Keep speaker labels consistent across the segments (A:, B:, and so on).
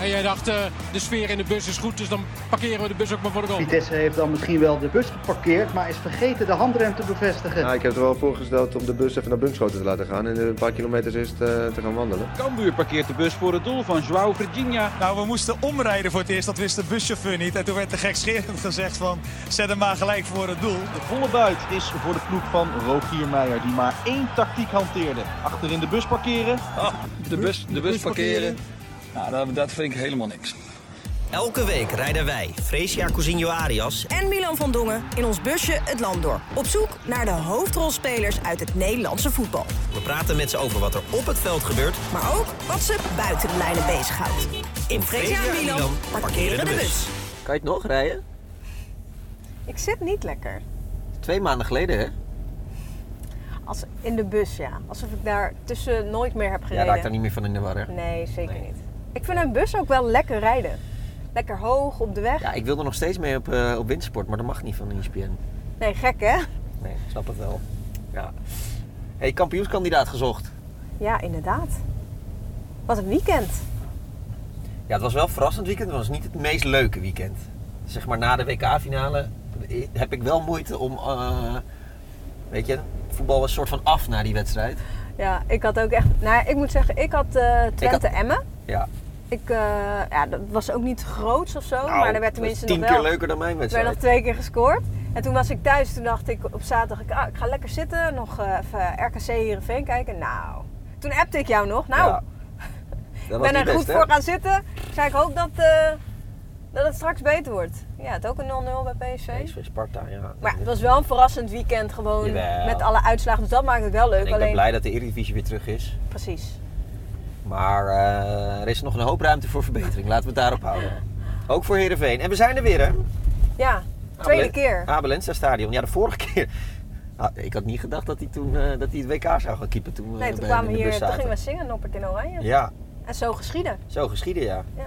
A: En jij dacht, eh, de sfeer in de bus is goed, dus dan parkeren we de bus ook maar voor de goal.
B: Vitesse heeft dan misschien wel de bus geparkeerd, maar is vergeten de handrem te bevestigen.
C: Ja, ik heb er wel voorgesteld om de bus even naar Bunschoten te laten gaan en een paar kilometers eerst eh, te gaan wandelen.
D: Cambuur parkeert de bus voor het doel van Joao Virginia.
E: Nou, we moesten omrijden voor het eerst. Dat wist de buschauffeur niet. En toen werd er gekscherend gezegd van... zet hem maar gelijk voor het doel.
D: De volle buit is voor de ploeg van Rogier Meijer, die maar één tactiek hanteerde. Achterin de bus parkeren.
F: Ah, De bus, de bus parkeren, nou, dat, dat vind ik helemaal niks.
G: Elke week rijden wij, Fresia Cousinho Arias,
H: en Milan van Dongen in ons busje het land door. Op zoek naar de hoofdrolspelers uit het Nederlandse voetbal.
G: we praten met ze over wat er op het veld gebeurt.
H: Maar ook wat ze buiten de lijnen bezighoudt.
G: In
H: Fresia
G: Fresia
H: en Milan parkeren de bus.
I: Kan je het nog rijden?
H: Ik zit niet lekker.
I: Twee maanden geleden, hè?
H: Als, in de bus, ja. Alsof ik daar tussen nooit meer heb
I: Jij
H: gereden.
I: raakt daar niet meer van in de war, hè?
H: Nee, zeker
I: Nee.
H: niet. Ik vind een bus ook wel lekker rijden. Lekker hoog op de weg.
I: Ja, ik wil er nog steeds mee op, eh, op windsport, maar dat mag niet van E ESPN.
H: Nee, gek hè?
I: Nee, ik snap het wel. Ja. hey, kampioenskandidaat gezocht.
H: Ja, inderdaad. Wat een weekend.
I: Ja, het was wel een verrassend weekend, maar het was niet het meest leuke weekend. Zeg maar na de WK-finale eh, heb ik wel moeite om. eh, weet je, voetbal was soort van af na die wedstrijd.
H: Ja, ik had ook echt... Nou, ik moet zeggen, ik had eh Twente Emmen.
I: Ja,
H: Ik, eh, ja, dat was ook niet groots of zo, Oh, maar er werd
I: Nou, dat was
H: tenminste
I: tien
H: nog
I: keer
H: wel...
I: leuker dan mijn
H: Er werd nog
I: wedstrijd.
H: twee keer gescoord. En toen was ik thuis, toen dacht ik op zaterdag, ik, ah, ik ga lekker zitten, nog eh, even RKC Heerenveen kijken. Nou, toen appte ik jou nog. Nou,
I: Ja. Dat
H: ik
I: was
H: ben
I: niet
H: er
I: best,
H: goed
I: hè?
H: voor gaan zitten. Ik zei, ik hoop dat, eh, dat het straks beter wordt. Ja, het ook een 0-0 bij PSV.
I: PSV Sparta, ja.
H: Maar ja, het was wel een verrassend weekend gewoon,
I: Jawel.
H: met alle uitslagen. Dus dat maakt het wel
I: En
H: leuk.
I: ik ben
H: Alleen,
I: blij dat de Eredivisie weer terug is.
H: precies.
I: Maar eh, er is nog een hoop ruimte voor verbetering. Laten we het daarop houden. Ook voor Heerenveen. En we zijn er weer, hè?
H: Ja, tweede
I: Abelen-
H: keer.
I: Abelensa Stadion. Ja, de vorige keer. Ah, ik had niet gedacht dat hij toen eh, dat hij het WK zou gaan keepen toen we
H: Nee,
I: bij
H: toen
I: hem
H: kwamen
I: in
H: we
I: de
H: hier,
I: bus
H: toen
I: zaten.
H: gingen we zingen, Noppert in Oranje.
I: Ja,
H: En zo geschieden.
I: zo geschieden, ja.
H: Ja.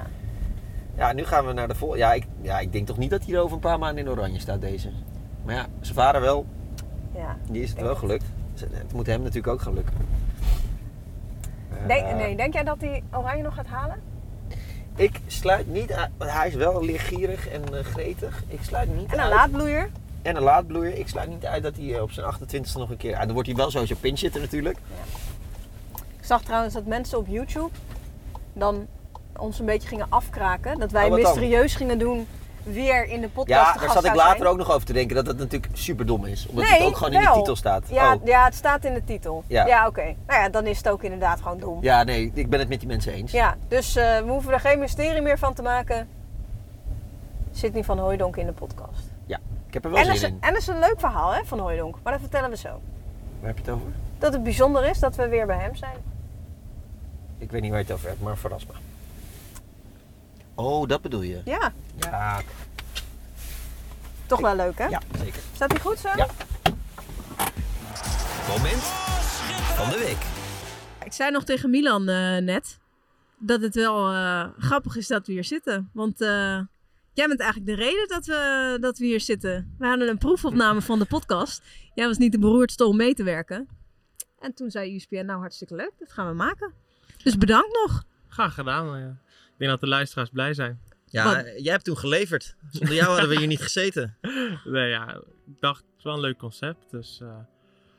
I: Ja, nu gaan we naar de volgende. Ja ik, ja, ik denk toch niet dat hij er over een paar maanden in oranje staat, deze. Maar ja, zijn vader wel.
H: ja.
I: Die is het wel gelukt. Het moet hem natuurlijk ook gaan lukken.
H: Denk,
I: Eh,
H: nee, denk jij dat hij Oranje nog gaat halen?
I: Ik sluit niet uit, want hij is wel leergierig en eh, gretig. Nou, Ik sluit niet
H: En een
I: uit.
H: laadbloeier?
I: En een laadbloeier. Ik sluit niet uit dat hij eh, op zijn 28e nog een keer... Ah, dan wordt hij wel sowieso pinchitter natuurlijk.
H: Ik zag trouwens dat mensen op YouTube dan ons een beetje gingen afkraken. Dat wij
I: Oh, wat dan?
H: mysterieus gingen doen wie er in de
I: Ja,
H: podcast te
I: daar
H: gast
I: zat ik
H: zou
I: later
H: zijn.
I: ook nog over te denken dat dat natuurlijk super dom is. Omdat
H: Nee,
I: het ook gewoon in
H: wel.
I: de titel staat.
H: Ja,
I: Oh.
H: ja, het staat in de titel.
I: Ja.
H: Ja, oké. Nou ja, dan is het ook inderdaad gewoon dom. Ja,
I: ja, nee, ik ben het met die mensen eens.
H: dus eh, we hoeven er geen mysterie meer van te maken. Zit niet van Hooidonk in de podcast.
I: Ja, ik heb er wel
H: En dat, is,
I: zin in.
H: en dat is een leuk verhaal hè, van Hooidonk, maar dat vertellen we zo.
I: Waar heb je het over?
H: Dat het bijzonder is dat we weer bij hem zijn.
I: Ik weet niet waar je het over hebt, maar verras me. Oh, dat bedoel je?
H: Ja,
I: Ja,
H: toch wel leuk hè?
I: ja zeker.
H: Staat hij goed zo?
I: Ja.
G: Moment van de week.
J: Ik zei nog tegen Milan eh, net dat het wel eh, grappig is dat we hier zitten. Want eh, jij bent eigenlijk de reden dat we, dat we hier zitten. We hadden een proefopname van de podcast. Jij was niet de beroerdste om mee te werken. En toen zei USPN, nou hartstikke leuk, dat gaan we maken. Dus bedankt nog.
K: Graag gedaan. ja. Ik denk dat de luisteraars blij zijn.
F: Ja,
J: Wat?
F: jij hebt toen geleverd. Zonder jou hadden we hier niet gezeten.
K: Nee, ja, ik dacht, het is wel een leuk concept. Dus eh, nou,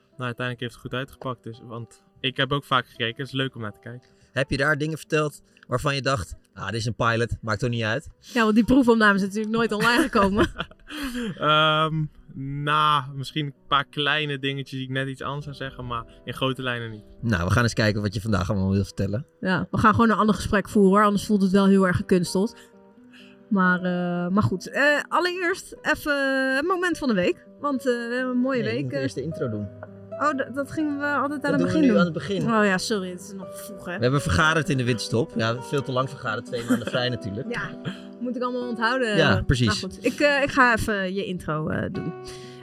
K: uiteindelijk heeft het goed uitgepakt. Dus, want ik heb ook vaak gekeken. Het is leuk om naar te kijken.
F: Heb je daar dingen verteld waarvan je dacht, ah, dit is een pilot, maakt toch niet uit?
J: Ja, want die proefopname is natuurlijk nooit online gekomen.
K: Ehm nou, misschien een paar kleine dingetjes die ik net iets anders zou zeggen. Maar in grote lijnen niet.
F: Nou, we gaan eens kijken wat je vandaag allemaal wil vertellen.
J: ja, we gaan gewoon een ander gesprek voeren hoor, anders voelt het wel heel erg gekunsteld. Maar, eh, maar goed, Eh, allereerst even het moment van de week. Want eh, we hebben een mooie
F: Nee, je
J: week.
F: moet
J: eh,
F: eerst de intro doen.
J: Oh, dat, dat gingen we altijd
F: dat
J: aan het
F: doen we
J: begin
F: nu
J: doen.
F: aan het begin.
J: Oh ja, sorry, het is nog vroeg hè.
F: We hebben vergaderd in de winterstop. Ja, veel te lang vergaderd, twee maanden vrij natuurlijk.
J: Ja, moet ik allemaal onthouden.
F: Ja, precies.
J: Maar goed, ik, eh, ik ga even je intro eh, doen.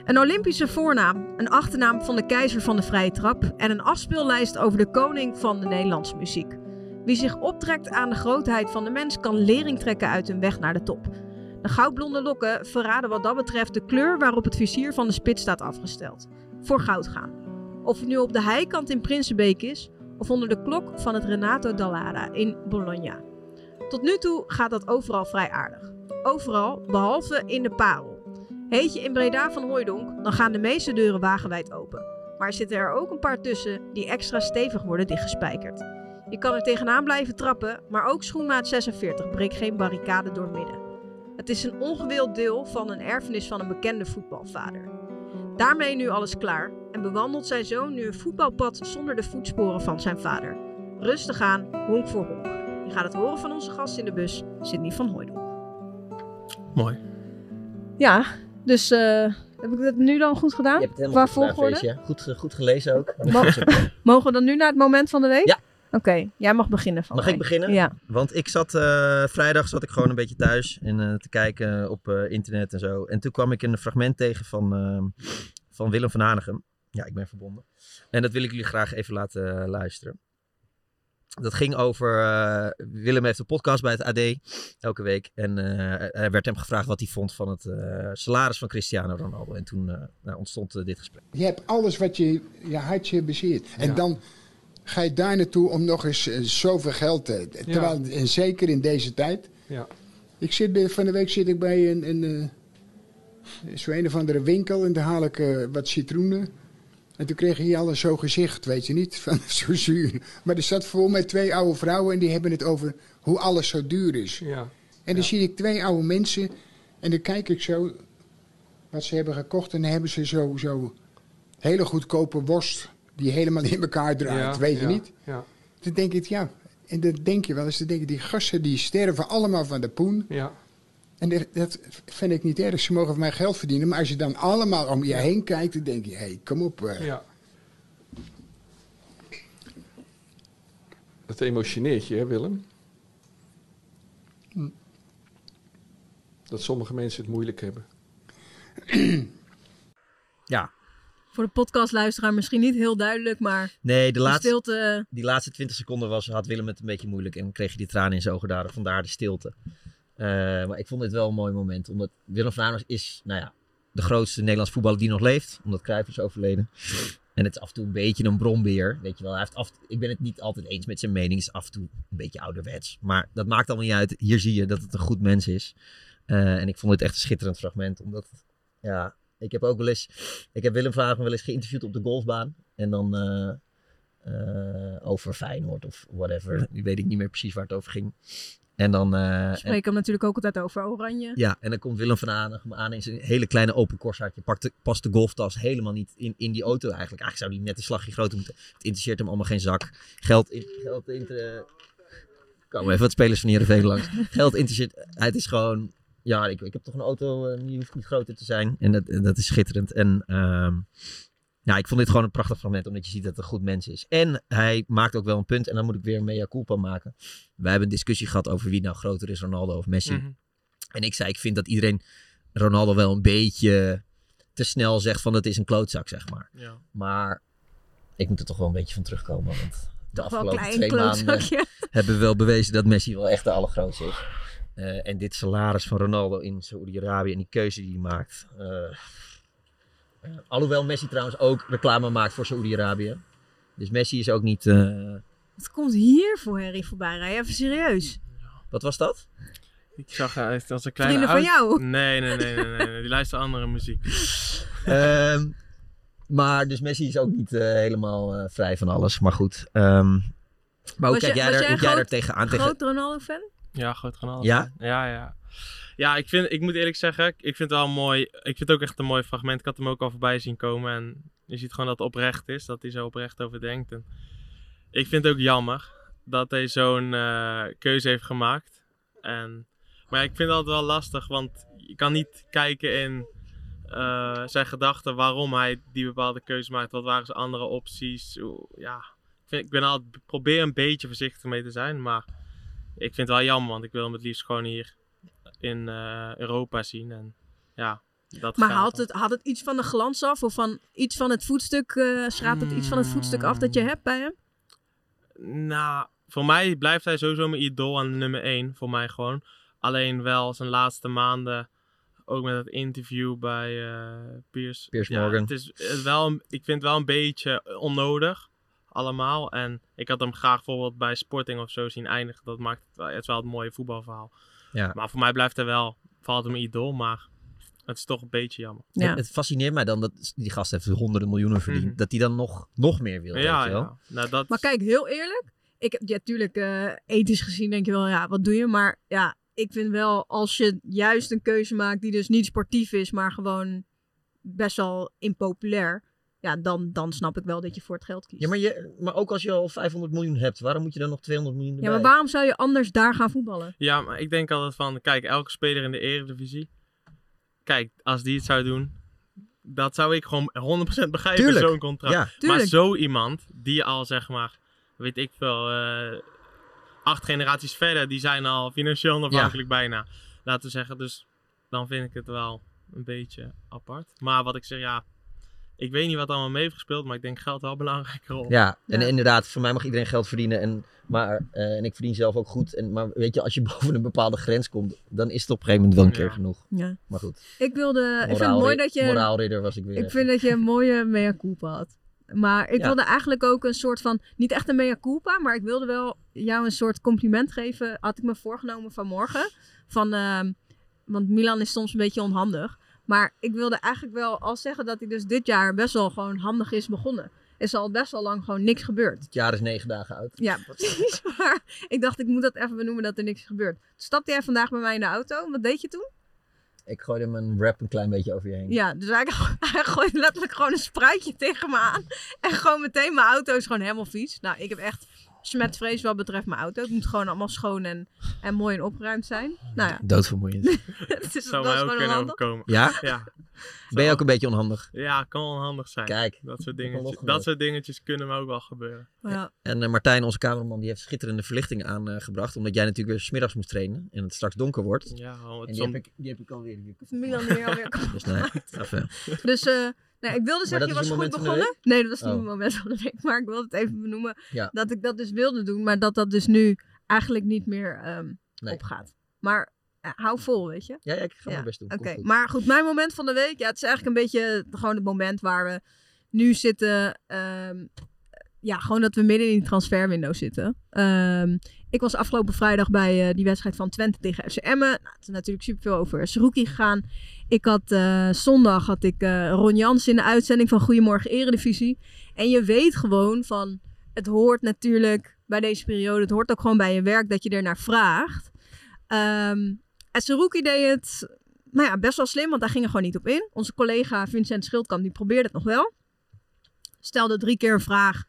J: Een Olympische voornaam, een achternaam van de keizer van de vrije trap en een afspeellijst over de koning van de Nederlandse muziek. Wie zich optrekt aan de grootheid van de mens kan lering trekken uit hun weg naar de top. De goudblonde lokken verraden wat dat betreft de kleur waarop het vizier van de spits staat afgesteld. Voor goud gaan. Of het nu op de heikant in Prinsenbeek is of onder de klok van het Renato Dall'Ara in Bologna.
H: Tot nu toe gaat dat overal vrij aardig. Overal, behalve in de parel. Heet je in Breda van Hooijdonk, dan gaan de meeste deuren wagenwijd open. Maar zitten er ook een paar tussen die extra stevig worden dichtgespijkerd. Je kan er tegenaan blijven trappen, maar ook schoenmaat 46 breekt geen barricade door midden. Het is een ongewild deel van een erfenis van een bekende voetbalvader. Daarmee nu alles klaar en bewandelt zijn zoon nu een voetbalpad zonder de voetsporen van zijn vader. Rustig aan, honk voor honk. Je gaat het horen van onze gast in de bus, Sidney van Hooijdonk.
K: Mooi.
H: Ja, dus eh, heb ik dat nu dan goed gedaan?
I: Je hebt het
H: Qua
I: helemaal goed gedaan,
H: volgorde?
I: Feestje. Goed, eh, goed gelezen ook.
H: Mo- Mogen we dan nu naar het moment van de week?
I: Ja.
H: Oké, jij mag beginnen van
I: Mag
H: mij.
I: ik beginnen?
H: Ja.
I: Want ik zat eh, vrijdag zat ik gewoon een beetje thuis en eh, te kijken op eh, internet en zo. En toen kwam ik een fragment tegen van, eh, van Willem van Hanegem. Ja, ik ben verbonden. En dat wil ik jullie graag even laten eh, luisteren. Dat ging over. eh, Willem heeft een podcast bij het AD elke week. En eh, er werd hem gevraagd wat hij vond van het eh, salaris van Cristiano Ronaldo. En toen eh, nou, ontstond eh, dit gesprek.
L: Je hebt alles wat je, je hartje bezit. En
I: Ja.
L: dan ga je daar naartoe om nog eens eh, zoveel geld te... Terwijl, en zeker in deze tijd...
M: Ja.
L: Ik zit bij, van de week zit ik bij een, een, eh, zo een of andere winkel en daar haal ik eh, wat citroenen. En toen kreeg je alles zo gezicht, weet je niet, van zo zuur. Maar er zat vol met twee oude vrouwen en die hebben het over hoe alles zo duur is.
M: Ja.
L: En dan zie ik twee oude mensen en dan kijk ik zo wat ze hebben gekocht. En dan hebben ze zo, zo hele goedkope worst die helemaal in elkaar draait,
M: Ja,
L: weet je
M: ja,
L: niet.
M: Ja.
L: Dan denk ik, ja, en dan denk je wel eens, dan denk ik, die gasten die sterven allemaal van de poen.
M: Ja.
L: En dat- dat vind ik niet erg, dus ze mogen van mij geld verdienen. Maar als je dan allemaal om je heen kijkt, dan denk je, hé, hey, kom op. eh.
M: Ja. Dat emotioneert je, hè, Willem?
L: Hm.
M: Dat sommige mensen het moeilijk hebben.
I: Ja,
H: Voor de podcastluisteraar misschien niet heel duidelijk, maar
I: Nee, de
H: de
I: laatste,
H: stilte- eh,
I: die laatste 20 seconden was, had Willem het een beetje moeilijk en kreeg je die tranen in zijn ogen daardoor, vandaar de stilte. Eh, maar ik vond dit wel een mooi moment, omdat Willem van Aaners is, nou ja, de grootste Nederlands voetballer die nog leeft, omdat Cruijff is overleden. En het is af en toe een beetje een bronbeer, weet je wel. Hij heeft af, ik ben het niet altijd eens met zijn mening, het is af en toe een beetje ouderwets. Maar dat maakt allemaal niet uit, hier zie je dat het een goed mens is. Eh, en ik vond dit echt een schitterend fragment, omdat, ja, ik heb ook wel eens, ik heb Willem van Aaners wel eens geïnterviewd op de golfbaan. En dan... eh, eh, over Feyenoord of whatever. Nu weet ik niet meer precies waar het over ging. En dan, eh,
H: we spreken hem natuurlijk ook altijd over Oranje.
I: ja, en dan komt Willem van Aanigem aan in zijn hele kleine open korsaartje. Pakt de, past de golftas helemaal niet in, in die auto eigenlijk. Eigenlijk zou die net een slagje groter moeten. Het interesseert hem allemaal geen zak. Geld in... Geld in eh, Komen even wat spelers van Heerenveen langs. Geld interesseert... Het is gewoon... Ja, ik, ik heb toch een auto eh, die hoeft niet groter te zijn. En dat, en dat is schitterend. En ehm, ja, ik vond dit gewoon een prachtig fragment. Omdat je ziet dat het een goed mens is. En hij maakt ook wel een punt. En dan moet ik weer een mea culpa maken. Wij hebben een discussie gehad over wie nou groter is. Ronaldo of Messi.
M: Mhm.
I: En ik zei, ik vind dat iedereen Ronaldo wel een beetje te snel zegt van het is een klootzak, zeg maar.
K: Ja.
I: Maar ik moet er toch wel een beetje van terugkomen. Want de
K: Toch wel
I: afgelopen
K: een klein
I: twee maanden
K: klootzakje.
I: hebben we wel bewezen dat Messi wel echt de allergrootste is. Eh, en dit salaris van Ronaldo in Saoedi-Arabië en die keuze die hij maakt. eh, eh, alhoewel Messi trouwens ook reclame maakt voor Saoedi-Arabië. Dus Messi is ook niet... eh,
H: Wat komt hier voor Harry voorbij rijden? Even serieus.
I: wat was dat?
K: Ik zag haar echt als een kleine
H: Vrienden van
K: oud-
H: jou?
K: Nee, nee, nee, nee, nee, nee. Die luisteren andere muziek.
I: Ehm, maar dus Messi is ook niet eh, helemaal eh, vrij van alles. Maar goed. ehm, maar hoe
H: Was
I: kijk
H: je-
I: jij,
H: was
I: daar, hoe
H: een
I: jij daar
H: groot-
I: tegenaan? Tegen...
H: groot Ronaldo-fan?
K: Ja, groot kanaal.
I: Ja?
K: Ja, ja. Ja, ik, vind, ik moet eerlijk zeggen, ik vind het wel een mooi. Ik vind het ook echt een mooi fragment. Ik had hem ook al voorbij zien komen. En je ziet gewoon dat het oprecht is, dat hij zo oprecht over denkt. En ik vind het ook jammer dat hij zo'n eh, keuze heeft gemaakt. En, maar ja, ik vind dat wel lastig, want je kan niet kijken in eh, zijn gedachten waarom hij die bepaalde keuze maakt. Wat waren zijn andere opties? Hoe- Ja, ik, vind, ik ben altijd, probeer een beetje voorzichtig mee te zijn, maar ik vind het wel jammer, want ik wil hem het liefst gewoon hier in eh, Europa zien. En ja, dat
H: Maar
K: gaat
H: had
K: dan.
H: het, had het iets van de glans af of van iets van het voetstuk, eh schraapt het iets van het voetstuk af dat je hebt bij hem?
K: Nou, voor mij blijft hij sowieso mijn idool aan nummer 1. Voor mij gewoon. Alleen wel zijn laatste maanden, ook met het interview bij eh Piers.
I: Piers
K: Ja, eh,
I: Morgan.
K: Het is het is wel, een- ik vind het wel een beetje onnodig. allemaal. En ik had hem graag bijvoorbeeld bij Sporting of zo zien eindigen. Dat maakt het wel, het is wel het mooie voetbalverhaal.
I: Ja.
K: Maar voor mij blijft hij wel, valt hem idool, maar het is toch een beetje jammer.
I: Het, het fascineert mij dan dat die gast heeft honderden miljoenen verdiend. Dat hij dan nog, nog meer wil,
K: Ja,
I: weet je wel.
K: ja. Nou, dat,
H: Maar kijk, heel eerlijk. Ik heb ja, natuurlijk eh, ethisch gezien denk je wel, ja, wat doe je? Maar ja, ik vind wel als je juist een keuze maakt die dus niet sportief is, maar gewoon best wel impopulair. Ja, dan, dan snap ik wel dat je voor het geld kiest.
I: Ja, maar, je, maar ook als je al 500 miljoen hebt, waarom moet je dan nog 200 miljoen
H: Ja,
I: erbij?
H: maar waarom zou je anders daar gaan voetballen?
K: Ja, maar ik denk altijd van, kijk, elke speler in de eredivisie. Kijk, als die het zou doen, dat zou ik gewoon 100% begrijpen,
I: Tuurlijk,
K: zo'n contract.
I: ja.
K: maar
I: Tuurlijk.
K: zo iemand, die al zeg maar, weet ik veel, eh, acht generaties verder, die zijn al financieel onafhankelijk bijna. Laten we zeggen, dus dan vind ik het wel een beetje apart. Maar wat ik zeg, ja, ik weet niet wat allemaal mee heeft gespeeld, maar ik denk geld wel een belangrijke rol.
I: Ja, en inderdaad, voor mij mag iedereen geld verdienen. En, maar, eh, en ik verdien zelf ook goed. En, maar weet je, als je boven een bepaalde grens komt, dan is het op een gegeven moment wel een keer genoeg.
H: Ja.
I: Maar goed.
H: Eh, Ik wilde. ik vind het
I: Moraalri-
H: mooi dat je.
I: Moraalridder was ik weer.
H: Ik vind dat je een mooie mea culpa had. Maar ik
I: Ja.
H: wilde eigenlijk ook een soort van, niet echt een mea culpa, maar ik wilde wel jou een soort compliment geven. Had ik me voorgenomen vanmorgen. Van, ehm, want Milan is soms een beetje onhandig. Maar ik wilde eigenlijk wel al zeggen dat hij dus dit jaar best wel gewoon handig is begonnen. Is al best wel lang gewoon niks gebeurd.
I: Het jaar is negen dagen oud.
H: Ja, precies. Maar ik dacht, ik moet dat even benoemen dat er niks is gebeurd. Toen stapte jij vandaag bij mij in de auto. Wat deed je toen?
I: Ik gooide mijn rap een klein beetje over je heen.
H: Ja, dus hij, hij gooit letterlijk gewoon een spruitje tegen me aan. En gewoon meteen, mijn auto is gewoon helemaal vies. Nou, ik heb echt smetvrees wat betreft mijn auto. Het moet gewoon allemaal schoon en, en mooi en opgeruimd zijn. Nou ja.
I: Doodvermoeiend.
H: het is,
K: zou
H: dat is
K: mij ook
H: gewoon
K: kunnen
H: handig.
K: overkomen.
I: Ja?
K: ja.
I: Ben je ook een beetje onhandig?
K: Ja, kan onhandig zijn.
I: Kijk,
K: dat
I: kan
K: soort, dingetjes,
I: losgebeurd.
K: dat soort dingetjes kunnen me ook wel gebeuren.
H: Ja.
I: En eh, Martijn, onze cameraman, die heeft schitterende verlichting aangebracht. omdat jij natuurlijk weer smiddags moest trainen. En het straks donker wordt.
K: Ja, oh, het
I: en die
K: som-
I: heb, ik, die heb ik alweer. Die heb ik-
H: Milan hier alweer kapot
I: Dus nee,
H: gemaakt.
I: even.
H: Dus eh, nee, ik wilde
I: Maar dat is
H: zeggen, je was
I: een
H: goed
I: moment van de
H: begonnen.
I: week?
H: Nee, dat was niet
I: Oh.
H: het moment van de week. Maar ik wilde het even benoemen
I: Ja.
H: dat ik dat dus wilde doen. Maar dat dat dus nu eigenlijk niet meer ehm,
I: Nee.
H: opgaat. Maar eh, hou vol, weet je.
I: Ja, ja, ik ga mijn best doen.
H: Oké,
I: Komt goed.
H: maar goed, mijn moment van de week. Ja, het is eigenlijk een beetje gewoon het moment waar we nu zitten. ehm, ja, gewoon dat we midden in die transferwindow zitten. Ehm, ik was afgelopen vrijdag bij eh, die wedstrijd van Twente tegen FC Emmen. Nou, het is natuurlijk superveel over Saruki gegaan. Ik had eh, zondag had ik eh, Ron Jans in de uitzending van Goedemorgen Eredivisie. En je weet gewoon van, het hoort natuurlijk bij deze periode. Het hoort ook gewoon bij je werk dat je ernaar vraagt. Ehm en Saruki deed het nou ja, best wel slim, want daar ging er gewoon niet op in. Onze collega Vincent Schildkamp die probeerde het nog wel. Stelde drie keer een vraag.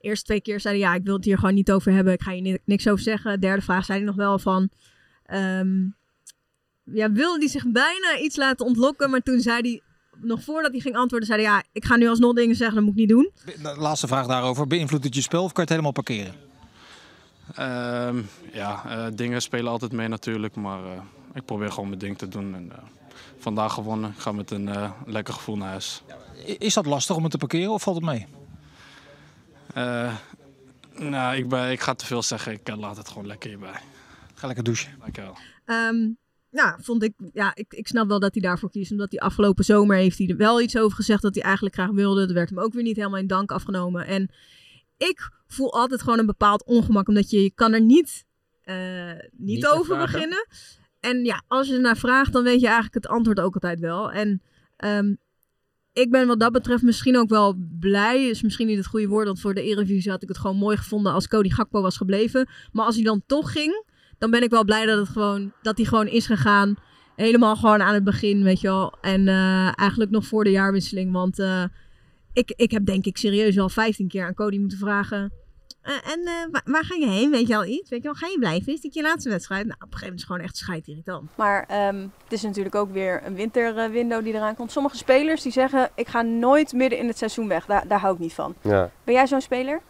H: Eerst twee keer zei hij, ja, ik wil het hier gewoon niet over hebben. Ik ga hier ni- niks over zeggen. Derde vraag zei hij nog wel van... ehm, ja, wilde hij zich bijna iets laten ontlokken. Maar toen zei hij, nog voordat hij ging antwoorden, zei hij... Ja, ik ga nu alsnog dingen zeggen, dat moet ik niet doen.
N: De laatste vraag daarover. Beïnvloedt het je spel of kan je het helemaal parkeren?
A: Ehm, ja, eh, dingen spelen altijd mee natuurlijk, maar eh, ik probeer gewoon mijn ding te doen. En, eh, vandaag gewonnen, ik ga met een eh, lekker gevoel naar huis.
N: I- Is dat lastig om het te parkeren of valt het mee?
A: Eh, nou, ik, ben, ik ga te veel zeggen, ik eh, laat het gewoon lekker hierbij.
N: Ga lekker douchen.
A: Dankjewel.
H: Ehm nou, vond ik, ja, ik, ik snap wel dat hij daarvoor kiest. Omdat hij afgelopen zomer heeft hij er wel iets over gezegd dat hij eigenlijk graag wilde. Dat werd hem ook weer niet helemaal in dank afgenomen. En ik voel altijd gewoon een bepaald ongemak. Omdat je, je kan er niet, eh, niet,
D: Niet
H: over
D: vragen.
H: beginnen. En ja, als je ernaar vraagt, dan weet je eigenlijk het antwoord ook altijd wel. En ehm, ik ben wat dat betreft misschien ook wel blij. Is misschien niet het goede woord, want voor de Eredivisie had ik het gewoon mooi gevonden als Cody Gakpo was gebleven. Maar als hij dan toch ging, dan ben ik wel blij dat, het gewoon, dat hij gewoon is gegaan. Helemaal gewoon aan het begin, weet je wel. En eh, eigenlijk nog voor de jaarwisseling, want eh, ik, ik heb denk ik serieus wel 15 keer aan Cody moeten vragen. Eh, en eh, waar, waar ga je heen? Weet je al iets? Weet je wel, ga je blijven? Is dit je laatste wedstrijd? Nou, op een gegeven moment is het gewoon echt scheidirritant.
O: Maar ehm, het is natuurlijk ook weer een winterwindow die eraan komt. Sommige spelers die zeggen, ik ga nooit midden in het seizoen weg. Daar, daar hou ik niet van.
P: Ja,
O: Ben jij zo'n speler?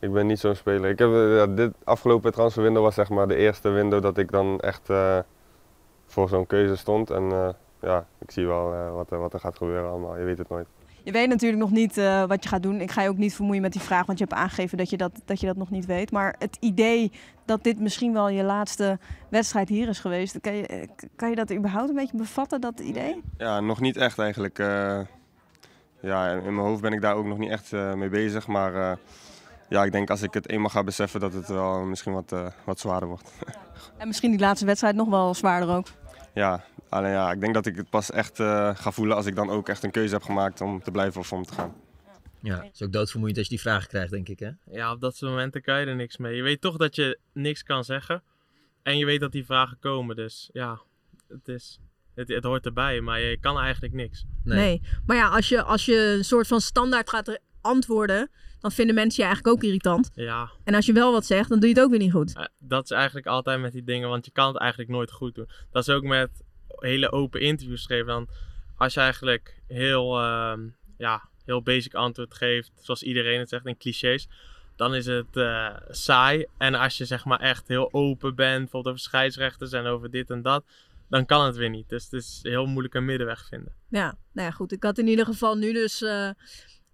P: ik ben niet zo'n speler. Ik heb, eh, ja, dit afgelopen transferwindow was zeg maar de eerste window dat ik dan echt eh, voor zo'n keuze stond. En eh, ja, ik zie wel eh, wat, er- wat er gaat gebeuren allemaal. Je weet het nooit.
O: Je weet natuurlijk nog niet eh, wat je gaat doen. Ik ga je ook niet vermoeien met die vraag, want je hebt aangegeven dat je dat, dat je dat nog niet weet. Maar het idee dat dit misschien wel je laatste wedstrijd hier is geweest, kan je, eh, k- kan je dat überhaupt een beetje bevatten, dat idee?
P: Ja, nog niet echt eigenlijk. eh, ja, in in mijn hoofd ben ik daar ook nog niet echt eh, mee bezig. Maar eh, ja, ik denk als ik het eenmaal ga beseffen dat het wel misschien wat, eh, wat zwaarder wordt.
O: En misschien die laatste wedstrijd nog wel zwaarder ook.
P: ja, alleen ja, ik denk dat ik het pas echt eh, ga voelen als ik dan ook echt een keuze heb gemaakt om te blijven of om te gaan.
I: Ja, het is ook doodvermoeiend als je die vraag krijgt, denk ik. Hè?
K: Ja, op dat soort momenten kan je er niks mee. Je weet toch dat je niks kan zeggen. En je weet dat die vragen komen. Dus ja, het, is, het, het hoort erbij. Maar je kan eigenlijk niks.
H: Nee. Maar ja, als je, als je een soort van standaard gaat re- antwoorden, dan vinden mensen je eigenlijk ook irritant.
K: Ja.
H: En als je wel wat zegt, dan doe je het ook weer niet goed.
K: Eh, dat is eigenlijk altijd met die dingen, want je kan het eigenlijk nooit goed doen. Dat is ook met hele open interviews geven. Dan als je eigenlijk heel, ehm, ja, heel basic antwoord geeft, zoals iedereen het zegt in clichés, dan is het eh, saai. En als je zeg maar echt heel open bent, bijvoorbeeld over scheidsrechters en over dit en dat, dan kan het weer niet. Dus het is heel moeilijk een middenweg vinden.
H: Ja, nou ja, goed. Ik had in ieder geval nu dus eh,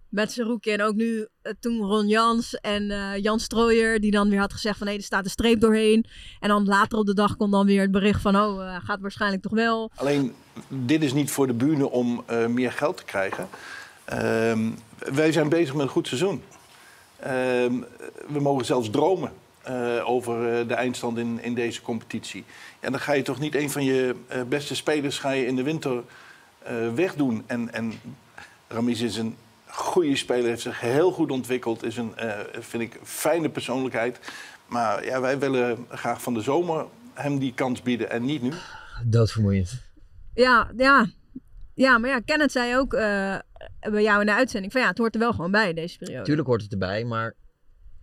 H: met Zerouki en ook nu eh, toen Ron Jans en eh, Jan Strooijer, die dan weer had gezegd van hé, er staat een streep doorheen. En dan later op de dag kwam dan weer het bericht van oh, eh, gaat waarschijnlijk toch wel.
D: Alleen, dit is niet voor de bühne om eh, meer geld te krijgen. Ehm, wij zijn bezig met een goed seizoen. Ehm, we mogen zelfs dromen eh, over eh, de eindstand in, in deze competitie. En dan ga je toch niet een van je eh, beste spelers ga je in de winter eh, wegdoen. En, en Ramis is een goede speler, heeft zich heel goed ontwikkeld. Is een, eh, vind ik, fijne persoonlijkheid. Maar ja, wij willen graag van de zomer hem die kans bieden en niet nu.
I: Doodvermoeiend.
H: Ja, ja. Ja, maar ja, Kenneth zei ook eh, bij jou in de uitzending van ja, het hoort er wel gewoon bij deze periode.
I: Tuurlijk hoort het erbij, maar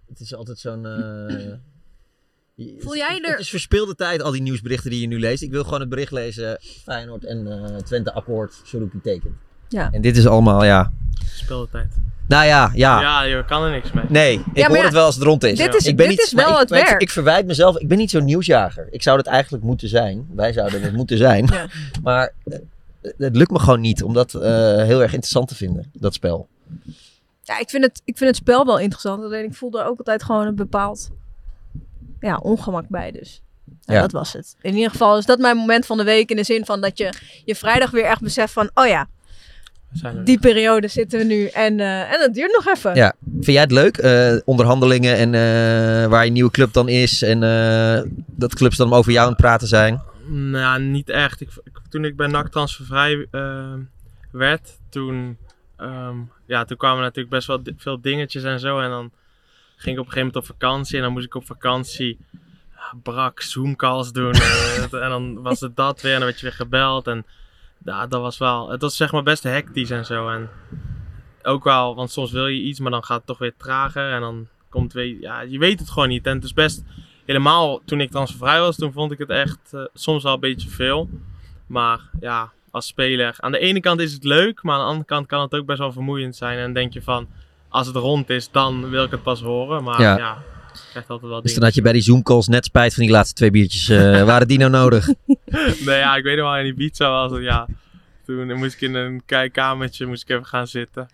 I: het is altijd zo'n... eh,
H: Voel jij
I: Het
H: er...
I: is verspeelde tijd, al die nieuwsberichten die je nu leest. Ik wil gewoon het bericht lezen. Feyenoord en eh, Twente akkoord, Suruki tekent.
H: Ja.
I: En dit is allemaal, ja...
K: Speeltijd.
I: Nou ja, ja.
K: Ja, je kan er niks mee.
I: Nee, ik
K: Ja, maar
I: hoor
K: ja,
I: het wel als het rond is.
K: dit is-
I: ik ben
K: dit
I: niet,
K: is
I: maar
K: wel
I: ik,
K: het
I: maar ik-
K: werk.
I: Ik verwijt mezelf, ik ben niet zo'n nieuwsjager. Ik zou dat eigenlijk moeten zijn. Wij zouden het moeten zijn. Maar eh, het lukt me gewoon niet om dat eh, heel erg interessant te vinden, dat spel.
H: Ja, ik vind, het, ik vind het spel wel interessant. Alleen ik voelde er ook altijd gewoon een bepaald ja, ongemak bij dus.
I: Ja.
H: Dat was het. In ieder geval is dat mijn moment van de week. In de zin van dat je je vrijdag weer echt beseft van... Oh ja,
K: Zijn er-
H: die periode zitten we nu. En, eh, en dat duurt nog even.
I: Ja, vind jij het leuk? Eh, onderhandelingen en eh, waar je nieuwe club dan is en eh, dat clubs dan over jou aan het praten zijn.
K: Nou, niet echt. Ik, ik- toen ik bij NAC transfervrij ehm, werd, toen, ehm, ja, toen kwamen natuurlijk best wel di- veel dingetjes en zo. En dan ging ik op een gegeven moment op vakantie. En dan moest ik op vakantie ah, brak Zoomcalls doen. eh, en dan was het dat weer. En dan werd je weer gebeld. En ja, dat was wel... Het was zeg maar best hectisch en zo. En ook wel, want soms wil je iets, maar dan gaat het toch weer trager. En dan komt weer, ja, je weet het gewoon niet. En het is best, helemaal toen ik transfervrij was, toen vond ik het echt eh, soms wel een beetje veel. Maar ja, als speler, aan de ene kant is het leuk, maar aan de andere kant kan het ook best wel vermoeiend zijn. En denk je van, als het rond is, dan wil ik het pas horen. Maar
I: Ja.
K: ja, je krijgt altijd wel
I: Dus
K: dingen.
I: dan had je bij die Zoom-calls net spijt van die laatste twee biertjes. eh, waren die nou nodig?
K: nee, ja, ik weet nog wel, in Ibiza was het, ja. Toen moest ik in een kijkkamertje, moest ik even gaan zitten.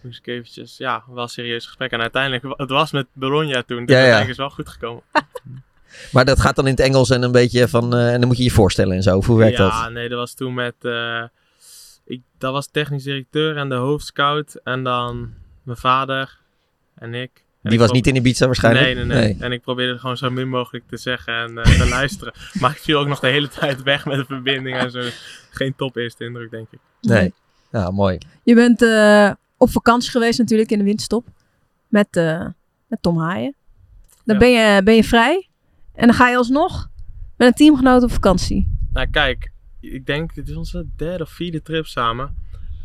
K: Moest ik eventjes, ja, wel een serieus gesprek. En uiteindelijk, het was met Bologna toen, dus
I: Ja, ja.
K: uiteindelijk is het wel goed gekomen.
I: Maar dat gaat dan in het Engels en een beetje van, eh, en dan moet je je voorstellen en zo. Of Hoe werkt
K: ja,
I: dat?
K: nee, dat was toen met... eh, ik, dat was technisch directeur en de hoofdscout. En dan mijn vader en ik. En
I: Die
K: ik
I: was
K: pro-
I: niet in Ibiza waarschijnlijk?
K: Nee, nee, nee,
I: Nee.
K: En ik probeerde het gewoon zo min mogelijk te zeggen en eh, te luisteren. Maar ik viel ook nog de hele tijd weg met de verbinding en zo. Geen top eerste indruk, denk ik.
I: Nee. Ja, mooi.
H: Je bent eh, op vakantie geweest natuurlijk in de winterstop. Met, eh, met Tom Haaien. Dan ben, je, ben je vrij. En dan ga je alsnog met een teamgenoot op vakantie.
K: Nou, kijk, ik denk, dit is onze derde of vierde trip samen.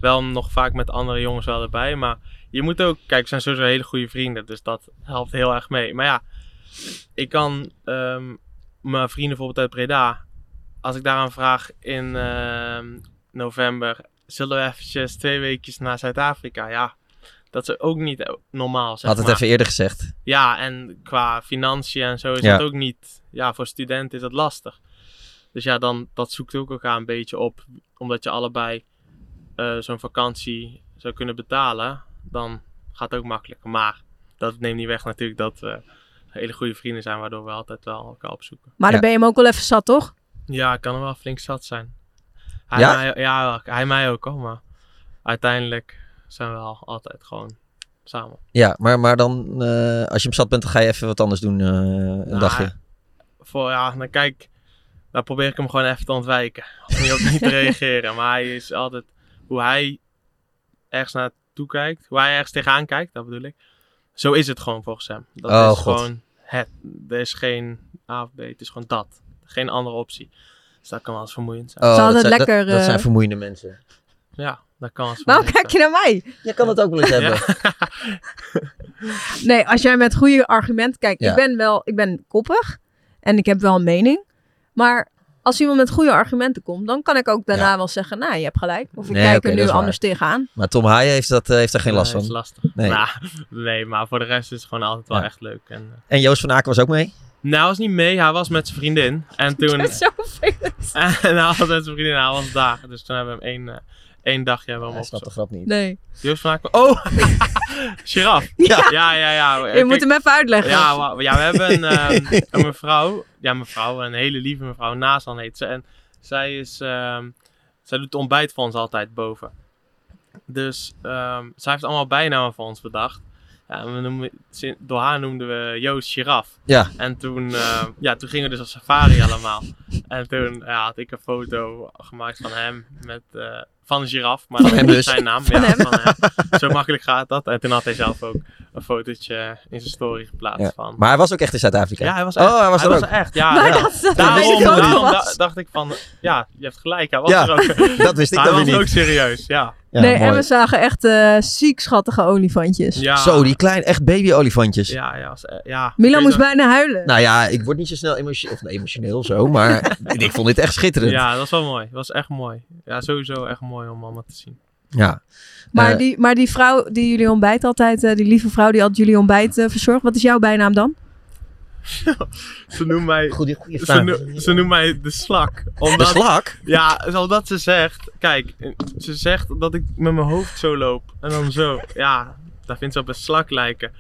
K: Wel nog vaak met andere jongens wel erbij, maar je moet ook, kijk, we zijn sowieso hele goede vrienden, dus dat helpt heel erg mee. Maar ja, ik kan ehm, mijn vrienden bijvoorbeeld uit Breda, als ik daaraan vraag in ehm, november, zullen we eventjes twee weekjes naar Zuid-Afrika? Ja, dat is ook niet eh, normaal. Zeg
I: Had het
K: maar.
I: even eerder gezegd.
K: Ja, en qua financiën en zo is
I: Ja.
K: dat ook niet. Ja, voor studenten is dat lastig. Dus ja, dan, dat zoekt ook elkaar een beetje op. Omdat je allebei eh, zo'n vakantie zou kunnen betalen. Dan gaat het ook makkelijker. Maar dat neemt niet weg natuurlijk dat we hele goede vrienden zijn. Waardoor we altijd wel elkaar opzoeken.
H: Maar dan ben je hem ook wel even zat, toch?
K: Ja, ik kan hem wel flink zat zijn. Hij
I: Ja?
K: Mij, ja, hij mij ook hoor. Maar uiteindelijk zijn we al altijd gewoon samen.
I: Ja, maar, maar dan, eh, als je hem zat bent, dan ga je even wat anders doen, eh, een
K: Nou,
I: dagje.
K: Voor, ja, dan kijk, daar probeer ik hem gewoon even te ontwijken. Om niet op niet te reageren. Maar hij is altijd, hoe hij ergens naartoe kijkt, hoe hij ergens tegenaan kijkt, dat bedoel ik. Zo is het gewoon volgens hem. Dat
I: Oh,
K: is
I: God.
K: gewoon het. Er is geen A of B, het is gewoon dat. Geen andere optie. Dus dat kan wel eens vermoeiend zijn.
I: Oh, dat, zijn,
H: lekker,
I: dat, dat
H: eh,
I: zijn vermoeiende mensen.
K: Ja, dat kan wel eens
H: Waarom
K: vermoeiend
H: kijk je naar mij?
I: Je kan het ook wel eens hebben.
H: Nee, als jij met goede argumenten kijkt.
I: Ja.
H: Ik ben wel, ik ben koppig en ik heb wel een mening. Maar als iemand met goede argumenten komt, dan kan ik ook daarna wel zeggen, nou, je hebt gelijk. Of ik
I: Nee,
H: kijk
I: oké,
H: er
I: dat
H: nu
I: is waar.
H: anders tegenaan.
I: Maar Tom Haaien heeft, dat, eh, heeft daar geen last
K: Nee,
I: van.
K: is lastig.
I: Nee.
K: Nou, nee, maar voor de rest is het gewoon altijd wel
I: Ja.
K: echt leuk. En, eh,
I: En Joost van Aken was ook mee?
K: nou, hij was niet mee, hij was met zijn vriendin. En toen.
H: Dat is zo vervelend.
K: en hij was met zijn vriendin, en hij was daar. Dus toen hebben we hem één, eh, één dagje hebben we hem
I: snapt de
K: opgezocht.
I: grap niet.
H: Nee.
K: Joost van Aken. Oh! Giraf.
H: Ja.
K: ja, ja. ja.
H: Je
K: Kijk,
H: moet hem even uitleggen.
K: Ja, wa- ja, we hebben een, ehm, een mevrouw. Ja, mevrouw. Een hele lieve mevrouw. Nazan heet ze. En zij is... ehm, zij doet ontbijt voor ons altijd boven. Dus ehm, zij heeft allemaal bijnamen voor ons bedacht. Ja, en we noemen, sin- door haar noemden we Joost Giraf.
I: Ja.
K: En toen, ehm, ja, toen gingen we dus op safari allemaal. En toen ja, had ik een foto gemaakt van hem met... eh, van een giraf, maar
I: Van
K: dat
I: hem
K: is
I: dus.
K: zijn naam.
I: Van
K: ja,
I: hem.
K: Van hem. Zo makkelijk gaat dat. En toen had hij zelf ook een fotootje in zijn story geplaatst
I: Ja.
K: van.
I: Maar hij was ook echt in Zuid-Afrika.
K: Ja, hij was echt.
I: Oh, hij was er ook.
K: echt. Ja,
I: Maar
K: ja.
I: dat- dat wist
K: daarom,
I: ik ook
K: daarom
I: niet.
K: da- dacht ik van, ja, je hebt gelijk, hij was
I: Ja,
K: er ook.
I: dat wist ik
K: Hij
I: dan weer
K: was
I: niet.
K: ook serieus, ja.
H: nee, en we zagen echt eh, ziek schattige olifantjes.
K: Ja.
I: Zo, die klein, echt baby-olifantjes.
K: Ja, ja, was, eh, ja.
H: Milan moest bijna huilen.
I: Nou ja, ik word niet zo snel emotioneel, of nee, emotioneel of zo, maar ik vond dit echt schitterend.
K: Ja, dat was wel mooi. Dat was echt mooi. Ja, sowieso echt mooi om allemaal te zien.
I: Ja.
H: Maar,
I: Eh,
H: die, maar die vrouw die jullie ontbijt altijd, eh, die lieve vrouw die altijd jullie ontbijt eh, verzorgt, wat is jouw bijnaam dan?
K: Ze noemt mij... ze,
I: vraag.
K: noem- ze noemt mij de slak. Omdat,
I: slak?
K: Ja, is omdat ze zegt... Kijk, ze zegt dat ik met mijn hoofd zo loop. En dan zo. Ja, daar vindt ze op een slak lijken.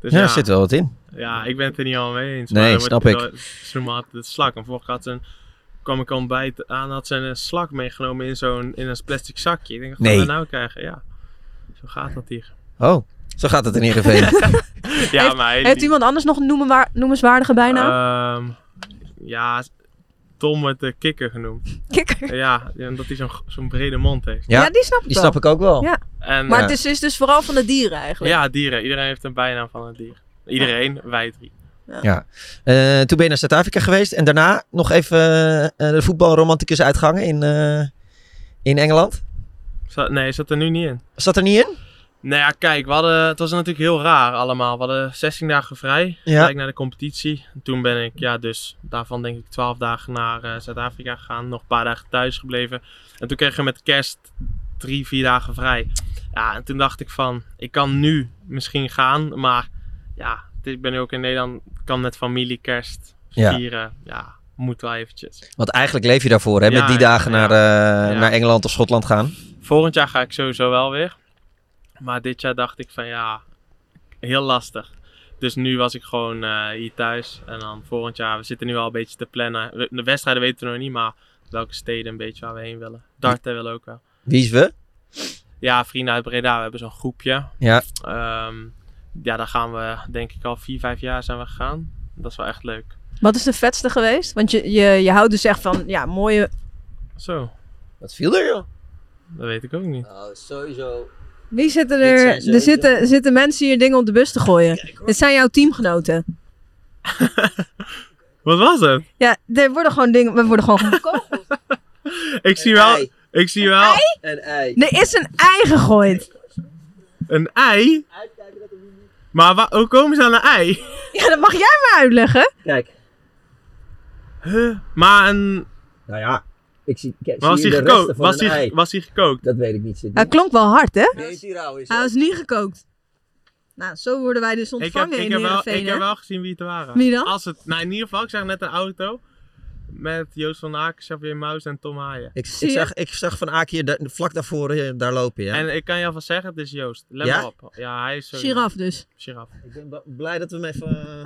K: Dus
I: Ja,
K: ja,
I: er zit wel wat in.
K: Ja, ik ben het er niet allemaal mee eens.
I: Nee,
K: maar dan
I: snap
K: wordt-
I: ik.
K: dan- Ze noemen altijd de slak. En vorige keer had ze een, kwam ik ontbijt aan, had ze een slak meegenomen in zo'n in een plastic zakje. Ik denk, wat gaan
I: Nee.
K: we nou krijgen? Ja, zo gaat dat hier.
I: Oh, zo gaat het in Heerenveen.
K: ja,
H: heeft,
K: maar...
H: heeft
K: die-
H: iemand anders nog een noemenwaar- noemenswaardige bijnaam?
K: Ehm, ja, Tom wordt de kikker genoemd.
H: Kikker?
K: Ja, ja, omdat hij zo'n zo'n brede mond heeft.
H: Ja, die snap ik wel. Ja.
K: En,
H: maar
K: ja.
H: het is, is dus vooral van de dieren eigenlijk.
K: Ja, dieren. Iedereen heeft een bijnaam van een dier.
I: Ah.
K: Iedereen, wij drie.
I: ja. Eh, toen ben je naar Zuid-Afrika geweest en daarna nog even eh, de voetbalromanticus uitgangen in, eh, in Engeland.
K: Zat- nee, zat er nu niet in.
I: Zat er niet in?
K: Nou ja, kijk, we hadden, het was natuurlijk heel raar allemaal. We hadden 16 dagen vrij,
I: Ja.
K: gelijk naar de competitie. En toen ben ik, ja, dus daarvan denk ik 12 dagen naar eh, Zuid-Afrika gegaan. Nog een paar dagen thuis gebleven. En toen kregen we met kerst drie, vier dagen vrij. Ja, en toen dacht ik van, ik kan nu misschien gaan, maar ja, het is- ik ben nu ook in Nederland. Ik kan met familie kerst
I: Ja.
K: vieren. Ja, moet wel eventjes.
I: Want eigenlijk leef je daarvoor, hè?
K: Ja,
I: met die
K: ja,
I: dagen
K: ja.
I: naar, eh,
K: Ja.
I: naar Engeland of Schotland gaan.
K: Volgend jaar ga ik sowieso wel weer. Maar dit jaar dacht ik van ja, heel lastig. Dus nu was ik gewoon eh, hier thuis. En dan volgend jaar, we zitten nu al een beetje te plannen. We- De wedstrijden weten we nog niet, maar welke steden een beetje waar we heen willen. Darten willen we ook wel.
I: Wie is we?
K: Ja, vrienden uit Breda, we hebben zo'n groepje.
I: Ja.
K: Ehm, ja, daar gaan we denk ik al vier, vijf jaar zijn we gegaan. Dat is wel echt leuk.
H: Wat is de vetste geweest? Want je, je, je houdt dus echt van ja, mooie...
K: Zo.
I: Wat viel er joh?
K: Dat weet ik ook niet.
I: Oh, sowieso.
H: Wie zitten er? Er zitten, zitten mensen hier dingen op de bus te gooien. Dit zijn jouw teamgenoten.
K: Wat was het?
H: Ja, er worden gewoon dingen... We worden gewoon gekogeld.
K: Ik zie wel. Ik zie wel.
I: Een ei.
H: Er is een ei gegooid.
K: Een ei? Maar wa- hoe komen ze aan een ei?
H: Ja, dat mag jij maar uitleggen.
I: Kijk.
K: Huh? Maar een...
I: Nou ja, ik zie... Kijk,
K: Maar was die gekookt? Was die, ge- was die gekookt?
I: Dat weet ik niet.
H: Hij klonk wel hard, hè?
I: Hij
H: was niet gekookt. Nou, zo worden wij dus
K: Ik heb,
H: ontvangen
K: ik,
H: in
K: heb wel,
H: Heerenveen,
K: ik heb
H: hè?
K: wel gezien wie het waren.
H: Wie dan?
K: Als het, nou, in ieder geval, ik zag net een auto. Met Joost van Aken, Xavier Muis en Tom Haaien.
I: Ik, ik, zag, ik zag van Aak hier da- vlak daarvoor eh, daar lopen, ja.
K: En ik kan je alvast zeggen, het is Joost. Let
I: Ja?
K: maar op. Ja, hij is zo.
I: Giraf dus.
K: Giraf.
I: Ik ben ba- blij dat we hem even... eh,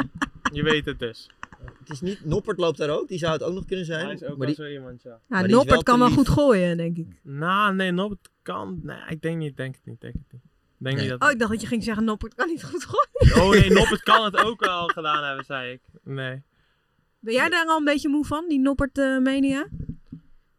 K: Je weet het dus.
I: het is niet... Noppert loopt daar ook, die zou het ook nog kunnen zijn.
K: Hij is ook
I: maar
K: wel
I: die,
K: zo iemand, ja.
H: Ja,
I: die is
H: Nou, Noppert
I: wel
H: kan
I: te
H: wel
I: lief.
H: goed gooien, denk ik.
K: Nou, nee, Nobbert kan... Nee, ik denk niet, denk het niet, denk het niet. Denk niet
H: Oh,
K: dat...
H: ik dacht dat je ging zeggen, Noppert kan niet goed gooien.
K: Oh nee, Noppert kan het ook al gedaan hebben, zei ik. Nee.
H: Ben jij daar al een beetje moe van, die Noppert eh, mania?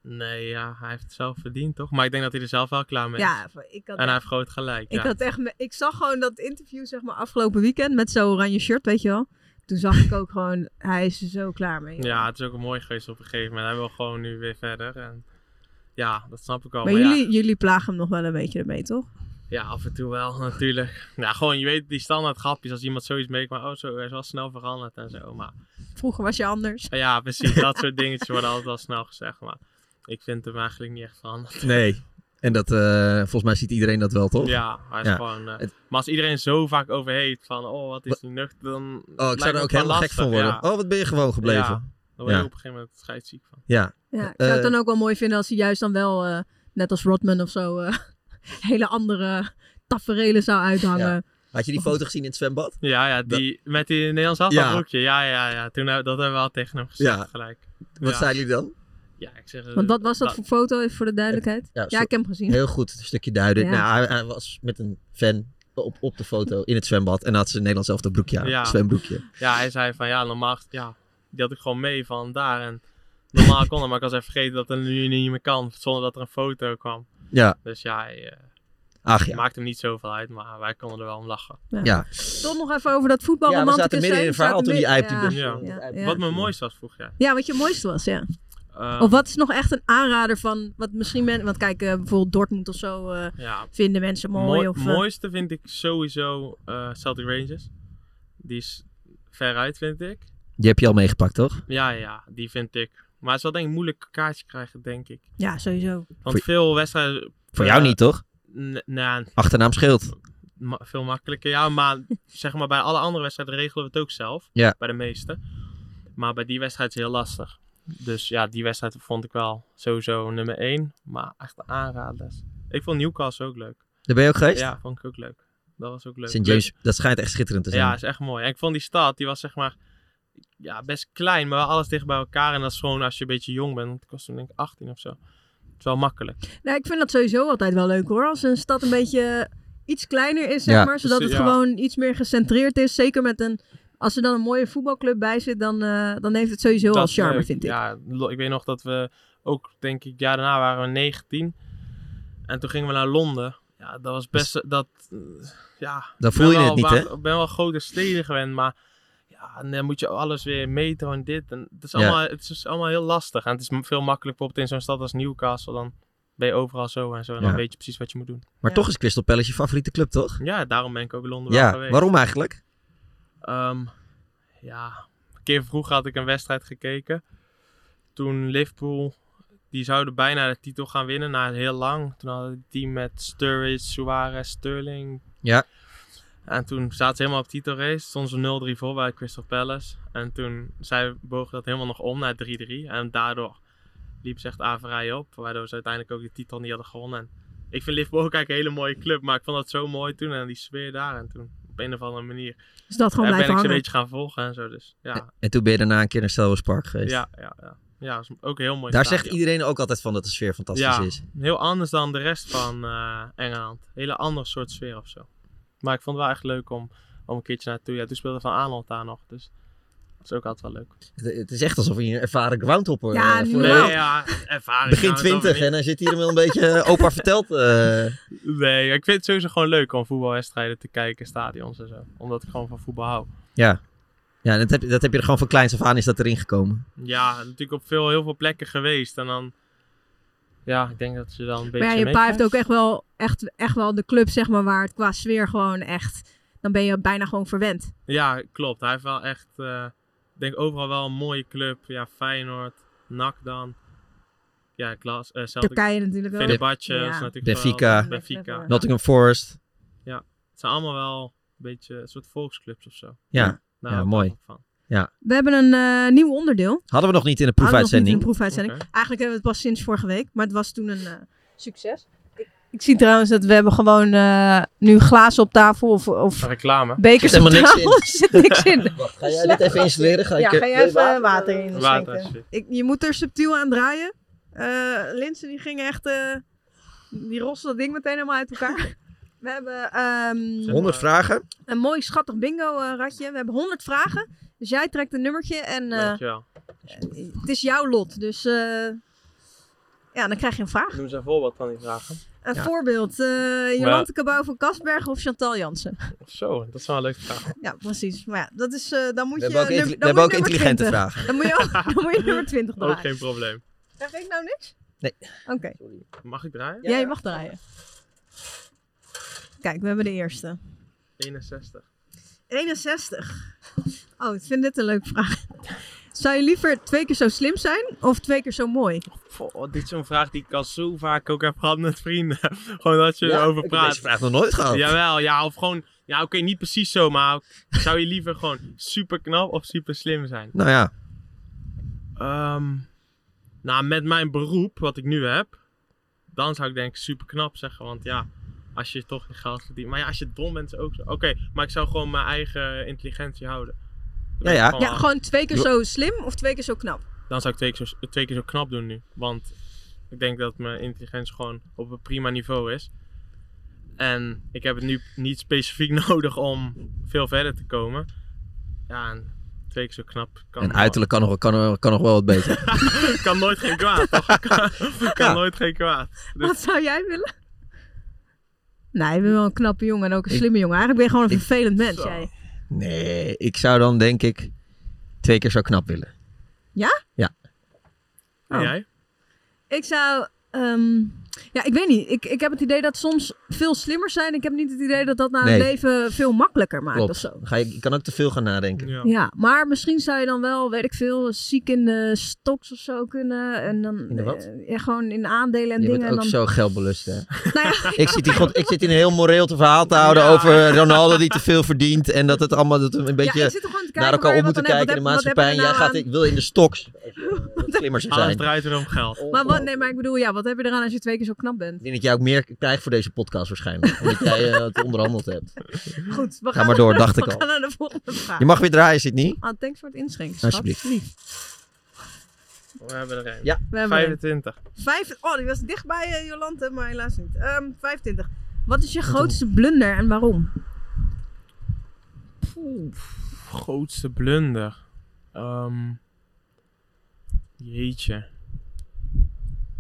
K: Nee, ja, hij heeft het zelf verdiend, toch? Maar ik denk dat hij er zelf wel klaar mee is.
H: Ja, ik had
K: en hij
H: echt-
K: heeft groot gelijk.
H: Ik,
K: ja.
H: had echt, me- ik zag gewoon dat interview zeg maar, afgelopen weekend met zo'n oranje shirt, weet je wel. Toen zag ik ook gewoon, hij is er zo klaar mee.
K: Ja, het is ook wel mooi geweest op een gegeven moment. Hij wil gewoon nu weer verder. En ja, dat snap ik al.
H: maar
K: oh, ja,
H: jullie, jullie plagen hem nog wel een beetje ermee, toch?
K: ja, af en toe wel, natuurlijk. Ja, gewoon, je weet die standaard grapjes als iemand zoiets meemaakt. Oh, zo, hij is wel snel veranderd en zo. Maar
H: Vroeger was je anders.
K: ja, precies. dat soort dingetjes worden altijd wel snel gezegd. Maar ik vind hem eigenlijk niet echt veranderd.
I: Nee. En dat, eh, volgens mij ziet iedereen dat wel, toch?
K: Ja, hij is gewoon... eh,
I: Het-
K: Maar als iedereen zo vaak over heeft van, oh, wat is die nuchter, dan
I: Oh, ik
K: lijkt me
I: zou er ook
K: het wel
I: helemaal gek
K: lastig,
I: van worden.
K: ja.
I: Oh, wat ben je gewoon gebleven.
K: Ja, dan word je
I: Ja.
K: op een gegeven moment scheidsziek van.
I: Ja.
H: Ja, ik zou het
I: Eh,
H: dan ook wel mooi vinden als hij juist dan wel, eh, net als Rodman of zo, eh, hele andere taferelen zou uithangen.
I: Had je die foto gezien in het zwembad?
K: Ja, ja, die, met die Nederlands afvalbroekje. Ja. ja, ja, ja. Toen, hebben- dat hebben we al tegen hem gezegd
I: Ja.
K: gelijk.
I: Wat
K: Ja.
I: zeiden jullie dan?
K: Ja, ik zeg... eh,
H: Want wat was dat voor foto, even voor de duidelijkheid? Ja,
I: zo-
H: ik heb hem gezien.
I: Heel goed, een stukje duiden.
H: Ja.
I: Nou, hij, hij was met een fan op, op de foto in het zwembad. En had ze Nederlands zelf dat broekje aan,
K: Ja.
I: zwembroekje.
K: Ja, hij zei van, ja, normaal... Ja, die had ik gewoon mee van daar. En normaal kon dat, maar ik was even vergeten dat het nu niet meer kan. Zonder dat er een foto kwam.
I: Ja.
K: Dus ja, hij... eh,
I: Ach, ja.
K: Maakt hem niet zoveel uit, maar wij konden er wel om lachen.
H: Ja.
I: Ja.
H: Toch nog even over dat voetbal.
I: Ja, we zaten
H: romanticus
I: midden in
H: zijn.
I: een
H: We zaten
I: verhaal toen die
H: midden-
I: eipt die
H: ja,
I: dus-
H: ja, ja.
K: Wat mijn mooiste was, vroeg jij.
H: Ja, wat je mooiste was, ja.
K: Ehm,
H: of wat is nog echt een aanrader van wat misschien men, want kijk, eh, bijvoorbeeld Dortmund of zo eh,
K: Ja.
H: vinden mensen mooi.
K: Mooi-
H: of, eh,
K: mooiste vind ik sowieso eh, Celtic Rangers. Die is veruit, vind ik.
I: Die heb je al meegepakt, toch?
K: Ja, ja, die vind ik. Maar het is wel denk ik moeilijk kaartje krijgen, denk ik.
H: Ja, sowieso.
K: Want veel wedstrijden...
I: Voor jou niet, toch?
K: N- nou,
I: Achternaam scheelt.
K: ma- veel makkelijker. Ja, maar zeg maar bij alle andere wedstrijden regelen we het ook zelf.
I: Ja.
K: Bij de meeste. Maar bij die wedstrijd is het heel lastig. Dus ja, die wedstrijd vond ik wel sowieso nummer één. Maar echt een aanrader. Ik vond Newcastle ook leuk.
I: Daar ben je ook geweest?
K: Ja, vond ik ook leuk. Dat was ook leuk.
I: St. James, dat schijnt echt schitterend te zijn.
K: Ja, is echt mooi. En ik vond die stad, die was zeg maar ja, best klein, maar wel alles dicht bij elkaar. En dat is gewoon als je een beetje jong bent, want ik was toen denk ik 18 of zo. Het is wel makkelijk.
H: Nou, ik vind dat sowieso altijd wel leuk hoor. Als een stad een beetje eh, iets kleiner is, zeg
K: Ja.
H: maar. Zodat het
K: Ja.
H: gewoon iets meer gecentreerd is. Zeker met een, als er dan een mooie voetbalclub bij zit, dan, eh, dan heeft het sowieso
K: Dat
H: al
K: is
H: charme,
K: leuk.
H: vind ik.
K: Ja, lo- ik weet nog dat we ook, denk ik, het jaar daarna waren we 19. En toen gingen we naar Londen. Ja, dat was best, dat, eh, ja.
I: Dus Dan
K: ik
I: voel
K: ben
I: je het
K: wel
I: niet,
K: waar-
I: hè?
K: Ik ben wel grote steden gewend, maar ja, en dan moet je alles weer meten en dit. En het, is
I: Ja.
K: allemaal, het is allemaal heel lastig. En het is m- veel makkelijker bijvoorbeeld in zo'n stad als Newcastle. Dan ben je overal zo en zo. En
I: Ja.
K: dan weet je precies wat je moet doen.
I: Maar toch is Crystal Palace je favoriete club, toch?
K: Ja, daarom ben ik ook in Londen wel
I: Ja,
K: geweest.
I: waarom eigenlijk?
K: Ehm, ja, een keer vroeger had ik een wedstrijd gekeken. Toen Liverpool, die zouden bijna de titel gaan winnen na heel lang. Toen hadden het team met Sturridge, Suarez, Sterling.
I: Ja.
K: En toen zaten ze helemaal op titelrace. Stonden ze 0-3 voor bij Crystal Palace. En toen zij bogen dat helemaal nog om naar 3-3. En daardoor liep ze echt averij op. Waardoor ze uiteindelijk ook de titel niet hadden gewonnen. En ik vind Liverpool ook eigenlijk een hele mooie club. Maar ik vond dat zo mooi toen. En die sfeer daar. En toen op een of andere manier.
H: Is Dus dat gewoon
K: eh,
H: blijven
K: ben ik ze een
H: hangen?
K: beetje gaan volgen en zo. Dus ja,
I: En toen ben je daarna een keer naar Selhurst Park geweest.
K: ja, ja, ja. ja dat is ook een heel mooi.
I: dus- Daar
K: stadion.
I: zegt iedereen ook altijd van dat de sfeer fantastisch
K: ja,
I: is.
K: Heel anders dan de rest van eh, Engeland. Hele ander soort sfeer of zo. Maar ik vond het wel echt leuk om, om een keertje naartoe. Ja, toen speelde Van Aanholt daar nog. Dus dat is ook altijd wel leuk.
I: Het, het is echt alsof je een ervaren groundhopper...
K: Ja,
I: eh,
K: nu
I: voor-
K: wel. Nee, ja, ervaring nou,
I: Begin
K: groundhopper
I: twintig
K: niet.
I: en dan zit hier wel een beetje eh, opa vertelt. eh.
K: Nee, ik vind het sowieso gewoon leuk om voetbalwedstrijden te kijken, stadions en zo. Omdat ik gewoon van voetbal hou.
I: ja, ja dat, heb, dat heb je er gewoon van kleins af aan is dat erin gekomen.
K: Ja, natuurlijk op veel, heel veel plekken geweest. En dan, ja, ik denk dat ze dan een
H: Maar
K: beetje
H: ja, je pa
K: meekrijgt.
H: heeft ook echt wel, echt, echt wel de club, zeg maar, waar het qua sfeer gewoon echt... Dan ben je bijna gewoon verwend.
K: Ja, klopt. Hij heeft wel echt, eh, ik denk overal wel een mooie club. Ja, Feyenoord, NAC dan. Ja, Glas, eh Celtic.
H: Turkije natuurlijk ook.
K: Fenerbahce
H: Ja.
K: is natuurlijk
I: Benfica,
K: geweldig. Benfica.
I: Nottingham Forest.
K: Ja, het zijn allemaal wel een beetje een soort volksclubs of zo. Nou,
I: Ja,
K: Daar
I: ja,
K: hou ik
I: mooi.
K: ook van.
I: Ja.
H: We hebben een eh, nieuw onderdeel.
I: Hadden we nog niet in de
H: Hadden we nog niet
I: proefuitzending.
H: in de proefuitzending.
I: Oké.
H: Eigenlijk hebben we het pas sinds vorige week, maar het was toen een eh, succes. Ik, ik zie trouwens dat we hebben gewoon eh, nu glazen op tafel of, of
K: Reclame.
H: bekers
I: Zit
H: op
I: helemaal niks
H: tafel.
I: in.
H: Er zit niks in.
I: Wacht, ga jij dit even installeren? Ga
H: ja,
I: ik, eh,
H: ga jij even water, in
I: Water,
H: schenken.
I: shit.
H: Ik, je moet er subtiel aan draaien. Eh Linsen die ging echt, eh, die roste dat ding meteen helemaal uit elkaar. We hebben ehm,
I: 100 vragen.
H: een mooi schattig bingo-ratje. We hebben 100 vragen. Dus jij trekt een nummertje en eh,
K: Dankjewel.
H: het is jouw lot. Dus eh, ja, dan krijg je een vraag.
K: Noem eens een voorbeeld van die vragen.
H: Een voorbeeld. eh Jolante Cabau van Kasberg of Chantal Jansen?
K: Zo, dat is wel een leuke vraag.
H: Ja, precies. Maar ja, dat is, eh, dan moet
K: We
H: je...
K: hebben ook
H: num-
K: intelli-
H: dan
K: we
H: moet je
K: hebben ook
H: nummer
K: intelligente
H: 20.
K: vragen.
H: Dan moet je, ook- dan moet je nummer 20 draaien.
K: Ook geen probleem.
H: Zeg ik nou niks?
I: Nee.
H: Oké.
K: Mag ik draaien?
H: Ja, je mag draaien. Kijk, we hebben de eerste.
K: 61.
H: 61. Oh, ik vind dit een leuke vraag. Zou je liever twee keer zo slim zijn of twee keer zo mooi?
K: Oh, dit is zo'n vraag die ik al zo vaak ook heb gehad met vrienden. gewoon dat je
I: Ja, ik
K: erover
I: heb
K: praat.
I: deze vraag nog nooit gehad.
K: Jawel, ja, of gewoon... Ja, oké, niet precies zo, maar zou je liever gewoon super knap of super slim zijn?
I: Nou ja.
K: Ehm, nou, met mijn beroep, wat ik nu heb, dan zou ik denk ik super knap zeggen. Want ja, als je toch geen geld verdient. Maar ja, als je dom bent, is ook zo. Oké, maar ik zou gewoon mijn eigen intelligentie houden. Dan
I: nou
K: ben ik
H: Ja, gewoon twee keer
K: Jo-
H: zo slim of twee keer zo knap?
K: Dan zou ik twee keer, zo, twee keer zo knap doen nu. Want ik denk dat mijn intelligentie gewoon op een prima niveau is. En ik heb het nu niet specifiek nodig om veel verder te komen. Ja, en twee keer zo knap kan
I: En
K: wel.
I: uiterlijk kan nog, kan, kan nog wel wat beter.
K: kan nooit geen kwaad, toch? Kan, kan nooit geen kwaad. Dus-
H: Wat zou jij willen? Nee, je bent wel een knappe jongen en ook een slimme jongen. Eigenlijk ben je gewoon een vervelend mens, jij.
I: Nee, ik zou dan denk ik twee keer zo knap willen.
H: Ja?
I: Ja.
K: En jij?
H: Ik zou... ehm, ja, ik weet niet. Ik, ik heb het idee dat soms veel slimmer zijn. Ik heb niet het idee dat dat nou
I: Nee.
H: het leven veel makkelijker maakt
I: Klopt.
H: of zo.
I: Ga je, je kan ook te veel gaan nadenken.
H: Ja. maar misschien zou je dan wel, weet ik veel, ziek in de stocks of zo kunnen. En dan
I: In de wat?
H: eh, ja, gewoon in aandelen en
I: je
H: dingen.
I: bent ook
H: en dan... Nou
I: zo geldbelust, hè? ik, zit hier, gewoon- ik zit hier een heel moreel te verhaal te houden over Ronaldo die te veel verdient. En dat het allemaal dat we een beetje
H: ik zit er gewoon te kijken
I: naar
H: waar
I: elkaar
H: je
I: op
H: wat
I: moeten
H: aan hebt.
I: kijken in de
H: Wat heb- wat
I: maatschappij. En jij
H: heb je nou
I: gaat,
H: aan-
I: ik wil in de stoks. Slimmer zijn.
K: Alles draait weer om geld.
H: Maar
I: Oh.
H: wat, nee, maar ik bedoel, ja, wat heb je eraan als je twee keer zo knap bent?
I: Ik denk dat jij ook meer krijgt voor deze podcast waarschijnlijk. Omdat jij eh, het onderhandeld hebt.
H: Goed, we
I: Ga
H: gaan
I: maar door,
H: naar-
I: dacht ik
H: we
I: al.
H: gaan naar de volgende vraag.
I: Je mag weer draaien, Sidney.
H: Ah, thanks voor het inschenken, schat.
I: Alsjeblieft.
H: Lief.
K: Oh, We hebben er een.
I: Ja.
H: We hebben er een.
K: 25.
H: Vijf, oh, die was dichtbij bij Jolante, maar helaas niet. Ehm 25. Wat is je grootste blunder en waarom?
K: Grootste blunder. Ehm, jeetje.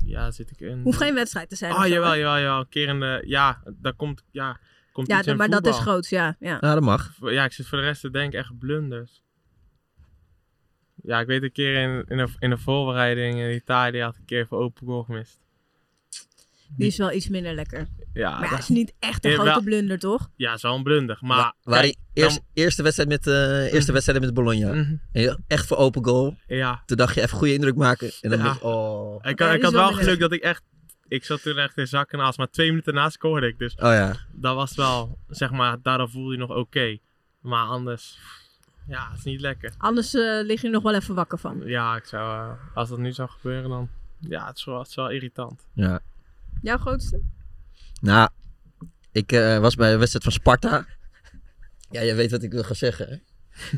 K: Ja, zit ik in.
H: Hoeft geen wedstrijd te zijn of
K: Ah,
H: zo,
K: jawel,
H: hè?
K: jawel, jawel. Een keer in de... Ja, daar komt... Ja, komt
H: Ja,
K: iets in
H: maar dat
K: voetbal.
H: is groot, ja, ja.
I: Ja, dat mag.
K: Ja, ik zit voor de rest te denken. Echt blunders. Ja, ik weet een keer in, in, een, in een voorbereiding in Italië had ik een keer voor open goal gemist.
H: Die is wel iets minder lekker.
K: Ja,
H: maar ja,
K: Ah, dat-
H: is niet echt een
K: Ja,
H: grote
K: wel-
H: blunder, toch?
K: Ja, is wel een blunder. Maar...
I: Waar
K: kijk, Mm.
I: die eerst, eerste, wedstrijd met, eh eerste wedstrijd met Bologna. En je- echt voor open goal.
K: Mhm. Ja.
I: Toen dacht je even goede indruk maken. En dan
K: Ja.
I: denk je, oh.
K: Ik, had- ik had wel geluk dat ik echt... Ik zat toen echt in zak en as, maar twee minuten na scoorde ik. Dus
I: Oh ja.
K: dat was wel, zeg maar, daardoor voelde je nog oké. Maar anders, ja, het is niet lekker.
H: Anders eh, lig je er nog wel even wakker van.
K: Ja, ik zou, eh, als dat nu zou gebeuren, dan, ja, het is wel, het is wel irritant.
I: Ja.
H: Jouw grootste?
I: Nou, ik eh, was bij de wedstrijd van Sparta. Ja, je weet wat ik wil gaan zeggen. hè?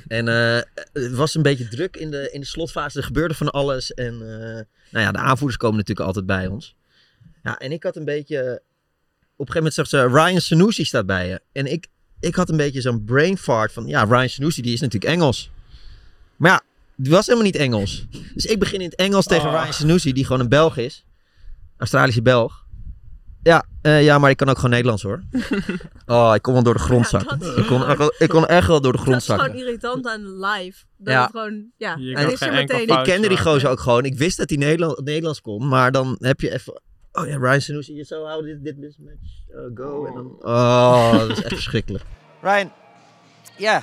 I: En eh, het was een beetje druk in de, in de slotfase. Er gebeurde van alles. En eh, nou ja, de aanvoerders komen natuurlijk altijd bij ons. Ja, en ik had een beetje... Op een gegeven moment zegt ze, Ryan Sanusi staat bij je. En ik, ik had een beetje zo'n brain fart van... Ja, Ryan Sanusi, die is natuurlijk Engels. Maar ja, die was helemaal niet Engels. Dus ik begin in het Engels tegen Ryan Sanusi, die gewoon een Belg is. Australische Belg. Ja, eh, ja, maar ik kan ook gewoon Nederlands hoor. Oh, ik kon wel door de grond zakken. ik, kon echt wel, ik kon echt wel door de grond
H: Dat is
I: zakken.
H: gewoon irritant aan live. Dat
I: Ja.
H: het gewoon, ja,
K: Je
H: het
K: kan
H: is
K: geen
H: er
K: enkel
H: meteen.
I: Ik kende die
K: maken.
I: gozer ook gewoon. Ik wist dat hij Nederland, Nederlands kon, maar dan heb je even... Oh ja, Ryan Sanusi, je zou houden dit, dit mismatch. eh, go. En dan, oh, dat is echt verschrikkelijk.
G: Ryan, ja,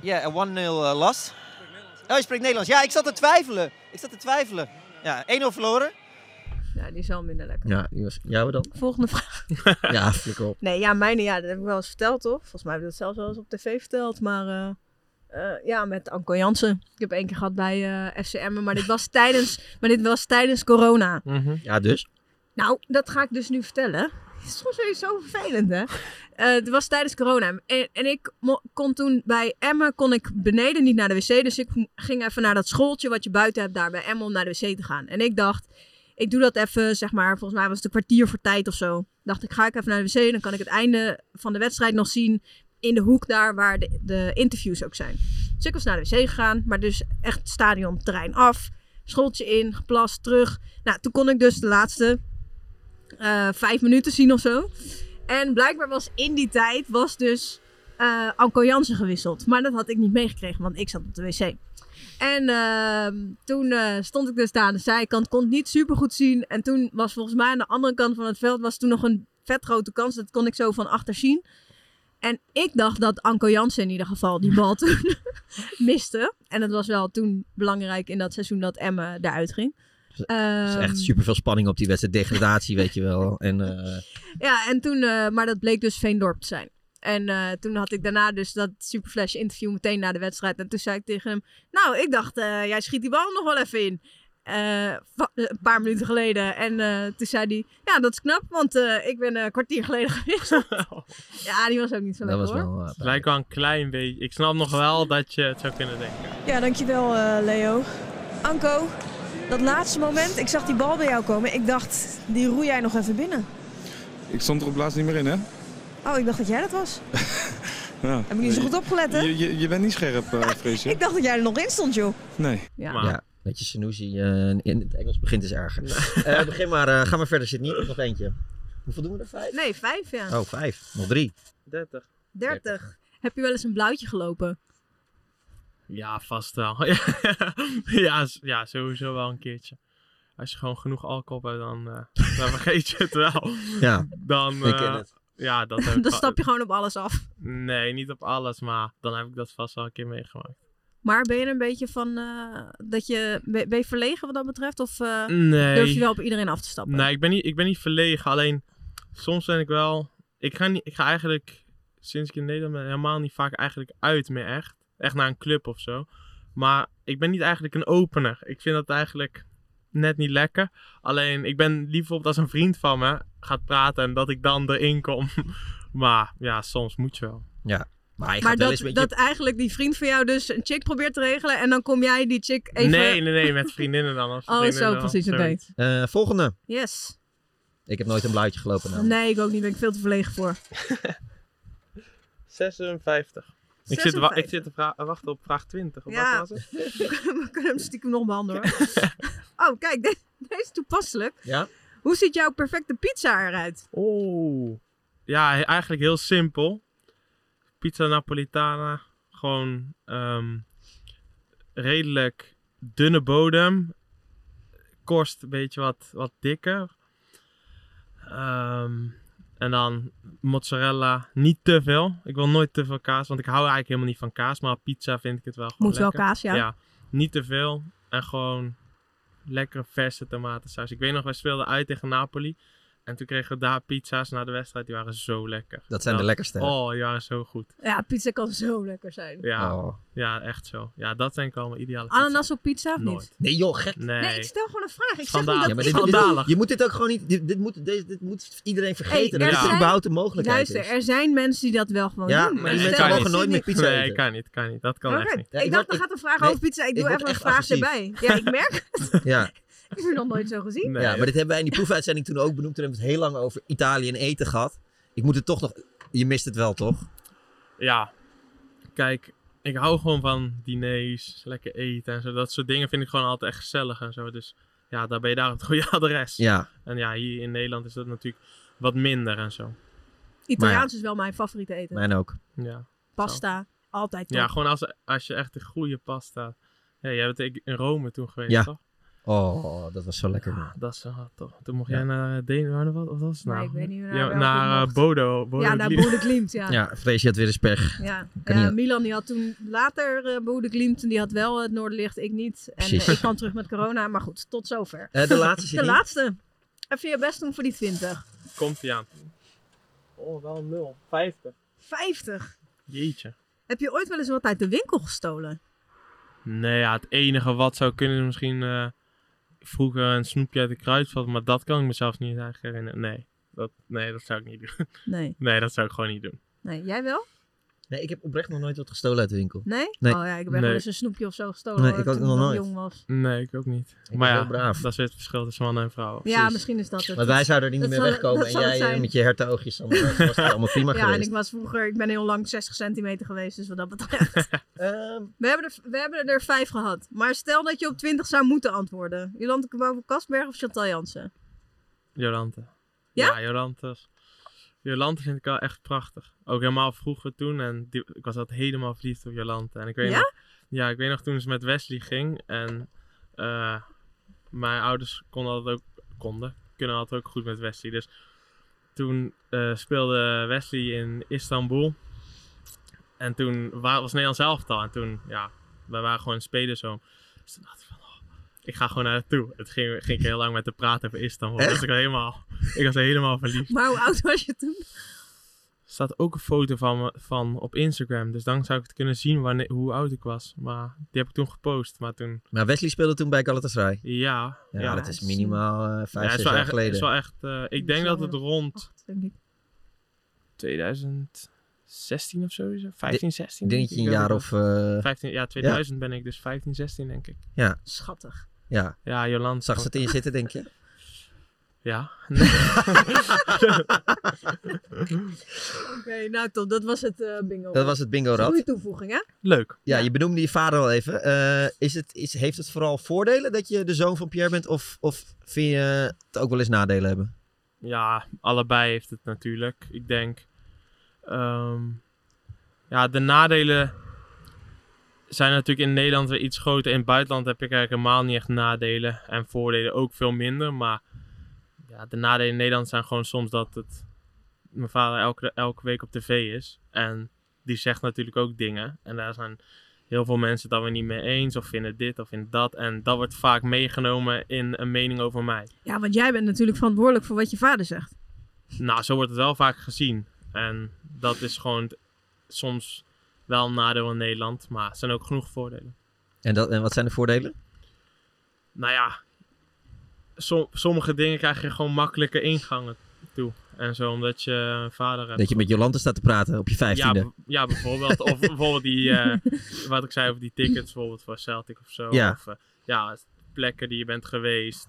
G: ja een 1-0 eh, loss. Oh, je spreekt Nederlands. Ja, ik zat te twijfelen. Ik zat te twijfelen. Ja, 1-0 verloren.
H: Ja, die is wel minder lekker.
I: Ja, die was, jouw dan?
H: Volgende vraag.
I: Ja, flikker op.
H: Nee, ja, mijne, ja, dat heb ik wel eens verteld, toch? Volgens mij heb ik dat zelfs wel eens op tv verteld. Maar eh, eh, ja, met Anko Jansen. Ik heb één keer gehad bij eh FCM, maar dit, was tijdens, maar dit was tijdens corona.
I: Ja, dus?
H: Nou, dat ga ik dus nu vertellen. Het is soms weer zo vervelend, hè? Eh, het was tijdens corona. En, en ik mo- kon toen bij Emmen kon ik beneden niet naar de wc. Dus ik m- ging even naar dat schooltje wat je buiten hebt daar bij Emmen om naar de wc te gaan. En ik dacht, ik doe dat even, zeg maar, volgens mij was het een kwartier voor tijd of zo. dacht ik, ga ik even naar de wc. Dan kan ik het einde van de wedstrijd nog zien in de hoek daar waar de, de interviews ook zijn. Dus ik was naar de wc gegaan, maar dus echt het stadion terrein af. Schooltje in, geplast, terug. Nou, toen kon ik dus de laatste eh, vijf minuten zien of zo. En blijkbaar was in die tijd was dus eh Anko Jansen gewisseld. Maar dat had ik niet meegekregen, want ik zat op de wc. En ehm, toen eh, stond ik dus daar aan de zijkant, kon het niet super goed zien. En toen was volgens mij aan de andere kant van het veld was toen nog een vet grote kans. Dat kon ik zo van achter zien. En ik dacht dat Anko Jansen in ieder geval die bal toen miste. En dat was wel toen belangrijk in dat seizoen dat Emme eruit ging.
I: Er is
H: Ehm,
I: echt super veel spanning op die wedstrijd. Degradatie, weet je wel. En eh,
H: Ja, en toen, eh, maar dat bleek dus Veendorp te zijn. En eh, toen had ik daarna dus dat Superflash interview meteen na de wedstrijd. En toen zei ik tegen hem, nou, ik dacht, eh, jij schiet die bal nog wel even in. Eh, va- een paar minuten geleden. En eh, toen zei hij, ja, dat is knap, want eh, ik ben eh, een kwartier geleden gewisseld. ja, die was ook niet zo lekker hoor.
I: eh,
K: Het lijkt wel een klein beetje. Ik snap nog wel dat je het zou kunnen denken.
O: Ja, dankjewel eh, Leo. Anko, dat laatste moment, ik zag die bal bij jou komen. Ik dacht, die roei jij nog even binnen.
Q: Ik stond er op laatst niet meer in, hè?
O: Oh, ik dacht dat jij dat was.
Q: Ja. Heb
O: je niet zo goed opgelet, hè?
Q: Je, je, je bent niet scherp, eh vrees je?
O: Ik dacht dat jij er nog in stond, joh.
Q: Nee.
H: Ja.
I: ja, weet je, Sanusi eh, in het Engels begint is erger. Eh, begin maar, eh, ga maar verder, zit niet. Nog eentje. Hoeveel doen we er? Vijf?
H: Nee, vijf ja.
I: Oh, vijf. Nog drie.
K: 30.
H: 30. Heb je wel eens een blauwtje gelopen?
K: Ja, vast wel. ja, s- ja, sowieso wel een keertje. Als je gewoon genoeg alcohol hebt, dan, eh, dan vergeet je het wel.
I: Ja,
K: dan,
I: ik ken
K: eh,
I: het.
K: Ja, dat heb
H: Dan
K: ik wel-
H: stap je gewoon op alles af.
K: Nee, niet op alles, maar dan heb ik dat vast wel een keer meegemaakt.
H: Maar ben je er een beetje van eh, dat je. Ben ben je verlegen wat dat betreft? Of eh,
K: Nee.
H: durf je wel op iedereen af te stappen?
K: Nee, ik ben niet, ik ben niet verlegen. Alleen, soms ben ik wel... Ik ga, niet, ik ga eigenlijk, sinds ik in Nederland ben, helemaal niet vaak eigenlijk uit meer echt. Echt naar een club of zo. Maar ik ben niet eigenlijk een opener. Ik vind dat eigenlijk net niet lekker. Alleen, ik ben liever bijvoorbeeld als een vriend van me gaat praten en dat ik dan erin kom. Maar ja, soms moet je wel.
I: Ja, maar
H: maar dat, dat eigenlijk die vriend van jou dus een chick probeert te regelen en dan kom jij die chick even.
K: Nee, nee, nee, met vriendinnen dan.
H: Oh,
K: Als vriendinnen
H: zo,
K: dan,
H: precies, oké.
K: zoiets.
I: Eh, volgende.
H: Yes.
I: Ik heb nooit een blauwtje gelopen. namelijk.
H: Nee, ik ook niet. Ben ik veel te verlegen voor.
K: 56. Ik zit,
H: 56.
K: wa- ik zit te vra- wachten op vraag 20. of
H: Ja.
K: Wat was het?
H: We kunnen hem stiekem nog behandelen. hoor. oh, kijk, de- deze is toepasselijk.
I: Ja?
H: Hoe ziet jouw perfecte pizza eruit?
K: Oeh. Ja, he- eigenlijk heel simpel. Pizza Napolitana. Gewoon ehm, redelijk dunne bodem. Korst een beetje wat, wat dikker. Ehm, en dan mozzarella. Niet te veel. Ik wil nooit te veel kaas. Want ik hou eigenlijk helemaal niet van kaas. Maar op pizza vind ik het wel gewoon
H: Moet wel
K: lekker.
H: kaas, ja.
K: Ja, niet te veel. En gewoon lekkere verse tomatensaus. Ik weet nog, wij speelden uit tegen Napoli. En toen kregen we daar pizza's na de wedstrijd. Die waren zo lekker.
I: Dat zijn de lekkerste, hè?
K: Oh, die waren zo goed.
H: Ja, pizza kan zo lekker zijn.
K: Ja,
I: Oh.
K: ja echt zo. Ja, dat zijn ik allemaal ideale
H: Ananas op pizza of
K: Nooit.
H: niet?
I: Nee joh, gek.
K: Nee.
H: Nee, ik stel gewoon een vraag. Ik zeg
K: Schandaal.
H: niet dat
K: Ja, maar
H: ik-
K: dit- Schandalig.
I: je moet dit ook gewoon niet. Dit, dit moet, dit, dit moet iedereen vergeten.
H: Hey,
I: dat
H: er
I: dit
H: zijn-
I: überhaupt een mogelijkheid
H: Luister,
I: is.
H: er zijn mensen die dat wel gewoon
I: Ja,
K: Ah,
H: doen.
I: maar
H: En
I: die
H: stel-
I: mensen mogen nooit meer pizza
K: Nee,
I: eten.
K: kan niet, kan niet. Dat kan
H: Oké,
K: echt niet.
H: ik dacht, er gaat een vraag over pizza. Ik
I: ik
H: doe
I: word
H: even een
I: echt
H: vraag
I: agressief.
H: erbij. Ja, ik merk het.
I: dus. Ja.
H: Ik heb u nog nooit zo gezien.
I: ja, maar dit hebben wij in die proefuitzending toen ook benoemd. Toen hebben we het heel lang over Italië en eten gehad. Ik moet het toch nog. Je mist het wel, toch?
K: Ja, kijk, ik hou gewoon van diners, lekker eten en zo. Dat soort dingen vind ik gewoon altijd echt gezellig en zo. Dus ja, daar ben je daar op het goede adres.
I: Ja.
K: En ja, hier in Nederland is dat natuurlijk wat minder en zo.
H: Italiaans is wel mijn favoriete eten.
K: Ja.
H: Pasta, altijd top.
K: Ja, gewoon als, als je echt de goede pasta... Ja, jij bent in Rome toen geweest,
I: Ja.
K: toch? Ah,
I: Oh, dat was zo lekker. man.
K: Dat is wel tof. Toen mocht
I: Ja.
K: jij naar eh, Denemarken, wat, wat was het
H: Nee,
K: nou?
H: ik weet niet meer
K: Ja,
H: naar welke
K: naar
H: ik
K: eh,
H: mocht.
K: Bodo, Bodo.
H: Ja, naar
K: Glimt.
H: Bodo Glimt, ja.
I: Ja, vrees je had weer eens pech.
H: Ja,
I: Kan
H: ja,
I: niet.
H: Milan die had toen later eh Bodo Glimt en die had wel het Noorderlicht, ik niet. En
I: Precies.
H: eh, ik kwam terug met corona, maar goed, tot zover.
I: Eh, de laatste zit
H: De
I: niet.
H: laatste. Even je best doen voor die 20.
K: Komt ie aan. Oh, wel een nul. 50.
H: 50.
K: Jeetje.
H: Heb je ooit wel eens wat uit de winkel gestolen?
K: Nee, ja, het enige wat zou kunnen is misschien eh, vroeger een snoepje uit de kruidvat, maar dat kan ik mezelf niet eigenlijk herinneren. Nee, dat, nee, dat zou ik niet doen.
H: Nee.
K: Nee, dat zou ik gewoon niet doen.
H: Nee, jij wel?
I: Nee, ik heb oprecht nog nooit wat gestolen uit de winkel.
H: Nee? Oh ja, ik ben wel
K: Nee.
H: eens een snoepje of zo gestolen
I: Nee, ik
H: toen
I: ook nog nooit.
H: jong was.
K: Nee, ik ook niet.
I: Ik
K: maar
I: ben
K: ja,
I: heel braaf.
K: dat is weer het verschil tussen mannen en vrouwen.
H: Ja, Precies. misschien is dat het.
I: Want wij zouden er niet
H: Dat
I: meer
H: zal-
I: wegkomen
H: dat
I: en
H: zal het
I: jij eh,
H: zijn.
I: met je hertoogjes, anders was het allemaal prima
H: ja, en
I: geweest.
H: ik was vroeger, ik ben heel lang 60 centimeter geweest, dus wat dat betreft.
I: Ehm.
H: we, hebben er, we hebben er vijf gehad. Maar stel dat je op 20 zou moeten antwoorden. Jolante Kabouw Kasberg of Chantal Jansen?
K: Jolante.
H: Ja?
K: Jolante. Jolante vind ik wel echt prachtig. Ook helemaal vroeger toen. En die- ik was altijd helemaal verliefd op Jolante. En ik weet
H: Ja?
K: nog, ja, ik weet nog toen ze met Wesley ging. En eh, mijn ouders konden altijd ook, konden, kunnen altijd ook goed met Wesley. Dus toen eh, speelde Wesley in Istanbul. En toen wa- was Nederland elftal. En toen, ja, wij waren gewoon spelen zo. Dus toen dacht ik van, oh, ik ga gewoon naar haar toe. Het ging, ging ik heel lang met te praten over Istanbul.
H: Echt?
K: Dus ik was helemaal, ik was helemaal verliefd.
H: Maar hoe oud was je toen?
K: Er staat ook een foto van me van op Instagram. Dus dan zou ik het kunnen zien wanneer, hoe oud ik was. Maar die heb ik toen gepost. Maar toen,
I: Maar Wesley speelde toen bij Galatasaray.
K: ja.
I: Ja, dat is minimaal eh, vijf,
K: Ja, het
I: zes
K: is wel
I: jaar
K: echt-
I: geleden.
K: Het is wel echt, eh, ik denk dat het rond
H: denk ik.
K: 2016 of zo is. het. 15,
I: Dit-
K: 16.
I: denk je
K: ik.
I: een
K: Ik weet
I: jaar
K: het
I: of,
K: niet.
I: eh,
K: 15, ja, 2000 ben ik, dus 15, 16 denk ik.
I: Ja.
H: Schattig.
I: Ja.
K: Ja, Jolanda.
I: Zag ze het in je zitten, denk je?
H: Oh.
K: Ja.
H: Oké, nou top, dat was het eh, bingo.
I: Dat was het bingo rad.
H: Goede toevoeging, hè?
K: Leuk.
I: Ja, je benoemde je vader al even. Eh, is het, is, heeft het vooral voordelen dat je de zoon van Pierre bent? Of, of vind je het ook wel eens nadelen hebben?
K: Ja, allebei heeft het natuurlijk. Ik denk. ehm, ja, de nadelen zijn natuurlijk in Nederland weer iets groter. In het buitenland heb ik eigenlijk helemaal niet echt nadelen. En voordelen ook veel minder. Maar ja, de nadelen in Nederland zijn gewoon soms dat het. Mijn vader elke, elke week op tv is. En die zegt natuurlijk ook dingen. En daar zijn heel veel mensen het dan weer niet mee eens. Of vinden dit of vinden dat. En dat wordt vaak meegenomen in een mening over mij.
H: Ja, want jij bent natuurlijk verantwoordelijk voor wat je vader zegt.
K: Nou, zo wordt het wel vaak gezien. En dat is gewoon t- soms wel een nadeel in Nederland, maar er zijn ook genoeg voordelen.
I: En, dat, en wat zijn de voordelen?
K: Nou ja, som- sommige dingen krijg je gewoon makkelijke ingangen toe. En zo, omdat je een vader hebt.
I: Dat je met Jolante staat te praten op je
K: ja,
I: vijftiende.
K: b- ja, bijvoorbeeld. Of bijvoorbeeld die, eh, wat ik zei over die tickets, bijvoorbeeld voor Celtic of zo.
I: Ja.
K: Of eh, ja, plekken die je bent geweest.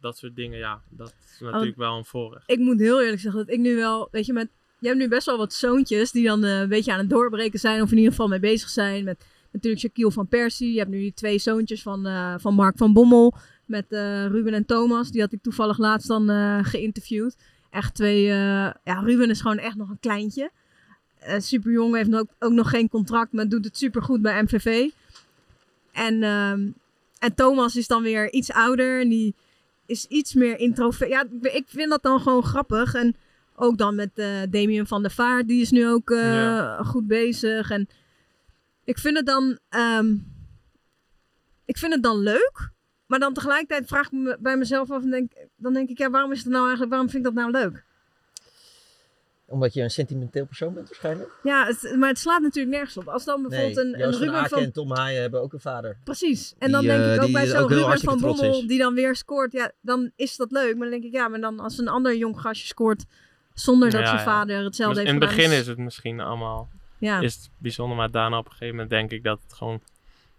K: Dat soort dingen, ja. Dat is natuurlijk wel een voorrecht.
H: Ik moet heel eerlijk zeggen dat ik nu wel, weet je, met, je hebt nu best wel wat zoontjes die dan eh, een beetje aan het doorbreken zijn of in ieder geval mee bezig zijn. Met natuurlijk Shaquille van Persie. Je hebt nu die twee zoontjes van, eh, van Mark van Bommel met eh, Ruben en Thomas. Die had ik toevallig laatst dan eh, geïnterviewd. Echt twee, eh, ja, Ruben is gewoon echt nog een kleintje. Eh super jong, heeft ook, ook nog geen contract, maar doet het super goed bij MVV. En, ehm, en Thomas is dan weer iets ouder en die is iets meer introvert. Ja, ik- ik vind dat dan gewoon grappig. En ook dan met eh Damien van der Vaart, die is nu ook eh,
K: Ja.
H: goed bezig. En ik vind het dan, ehm, ik vind het dan leuk. Maar dan tegelijkertijd vraag ik me bij mezelf af en denk, dan denk ik, ja, waarom is het nou eigenlijk, waarom vind ik dat nou leuk?
I: Omdat je een sentimenteel persoon bent waarschijnlijk.
H: Ja, het, maar het slaat natuurlijk nergens op. Als dan bijvoorbeeld een, een
I: Joost van
H: Ruben
I: Aken en
H: van...
I: Tom Haaien hebben ook een vader.
H: Precies. En
I: Die,
H: dan denk
I: eh,
H: ik ook
I: die
H: bij
I: is
H: zo'n
I: ook heel
H: Ruben van
I: hartstikke trots
H: Bommel,
I: is.
H: die dan weer scoort. Ja, dan is dat leuk. Maar dan denk ik, ja, maar dan als een ander jong gastje scoort zonder dat
K: Ja,
H: zijn
K: ja.
H: vader hetzelfde
K: Dus
H: heeft
K: In het
H: gedaan.
K: begin is het misschien allemaal
H: Ja.
K: is het bijzonder, maar daarna op een gegeven moment denk ik dat het gewoon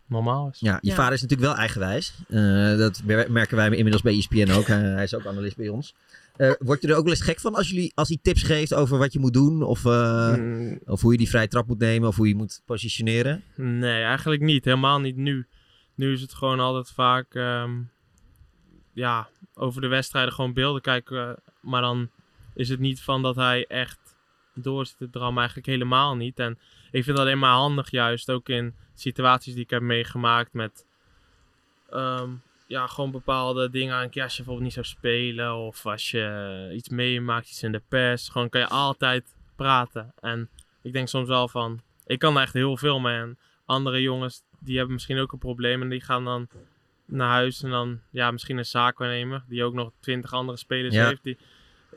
K: normaal is.
I: Ja, je vader is natuurlijk wel eigenwijs. Eh, dat mer- merken wij inmiddels bij E ESPN ook. Eh, Hij- hij is ook analist bij ons. Eh wordt je er ook wel eens gek van als, jullie, als hij tips geeft over wat je moet doen? Of, eh,
K: Mm.
I: of hoe je die vrije trap moet nemen? Of hoe je moet positioneren?
K: Nee, eigenlijk niet. Helemaal niet nu. Nu is het gewoon altijd vaak ehm, ja, over de wedstrijden gewoon beelden kijken. eh, maar dan is het niet van dat hij echt door zit te drammen. Eigenlijk helemaal niet. En ik vind het alleen maar handig juist. Ook in situaties die ik heb meegemaakt met... ehm, ja, gewoon bepaalde dingen aan. Ja, als je bijvoorbeeld niet zou spelen of als je iets meemaakt, iets in de pers. Gewoon kan je altijd praten. En ik denk soms wel van, ik kan daar echt heel veel mee. En andere jongens, die hebben misschien ook een probleem en die gaan dan naar huis. En dan, ja, misschien een zaakwaarnemer die ook nog twintig andere spelers
I: Ja.
K: heeft. Die,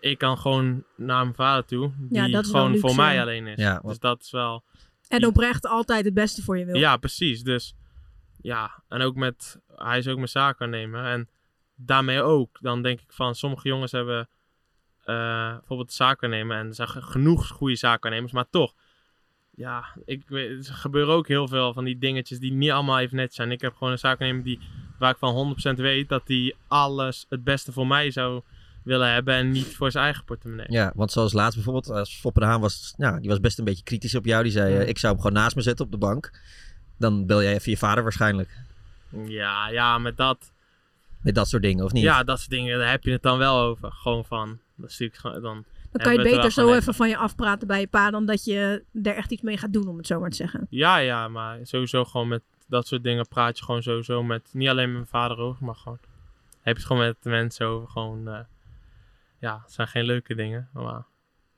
K: ik kan gewoon naar mijn vader toe, die
H: Ja, dat is wel
K: gewoon
H: luxe,
K: voor mij
H: ja.
K: alleen is.
I: Ja,
K: dus dat is wel...
H: En oprecht altijd het beste voor je wil.
K: Ja, precies. Dus ja, en ook met, hij is ook mijn zaakwaarnemer. En daarmee ook, dan denk ik van, sommige jongens hebben eh bijvoorbeeld zaakwaarnemer en er zijn ge- genoeg goede zaakwaarnemers, maar toch, Ja, ik, weet- er gebeuren ook heel veel van die dingetjes die niet allemaal even net zijn. Ik heb gewoon een zaaknemer die, waar ik van 100% weet dat hij alles het beste voor mij zou willen hebben en niet voor zijn eigen portemonnee.
I: Ja, want zoals laatst bijvoorbeeld, als Foppe de Haan was, nou, die was best een beetje kritisch op jou. Die zei, eh, ik zou hem gewoon naast me zetten op de bank. Dan bel jij even je vader waarschijnlijk.
K: Ja, ja, met dat.
I: Met dat soort dingen, of niet?
K: Ja, dat soort dingen, daar heb je het dan wel over. Gewoon van, dat stuk gewoon, dan...
H: Dan
K: hebben
H: kan
K: we
H: je
K: het er
H: beter
K: wel
H: zo
K: gewoon
H: even van je afpraten bij je pa dan dat je er echt iets mee gaat doen, om het zo maar te zeggen.
K: Ja, ja, maar sowieso gewoon met dat soort dingen praat je gewoon sowieso met, niet alleen met mijn vader over, maar gewoon, heb je het gewoon met de mensen over, gewoon, eh, ja, het zijn geen leuke dingen, maar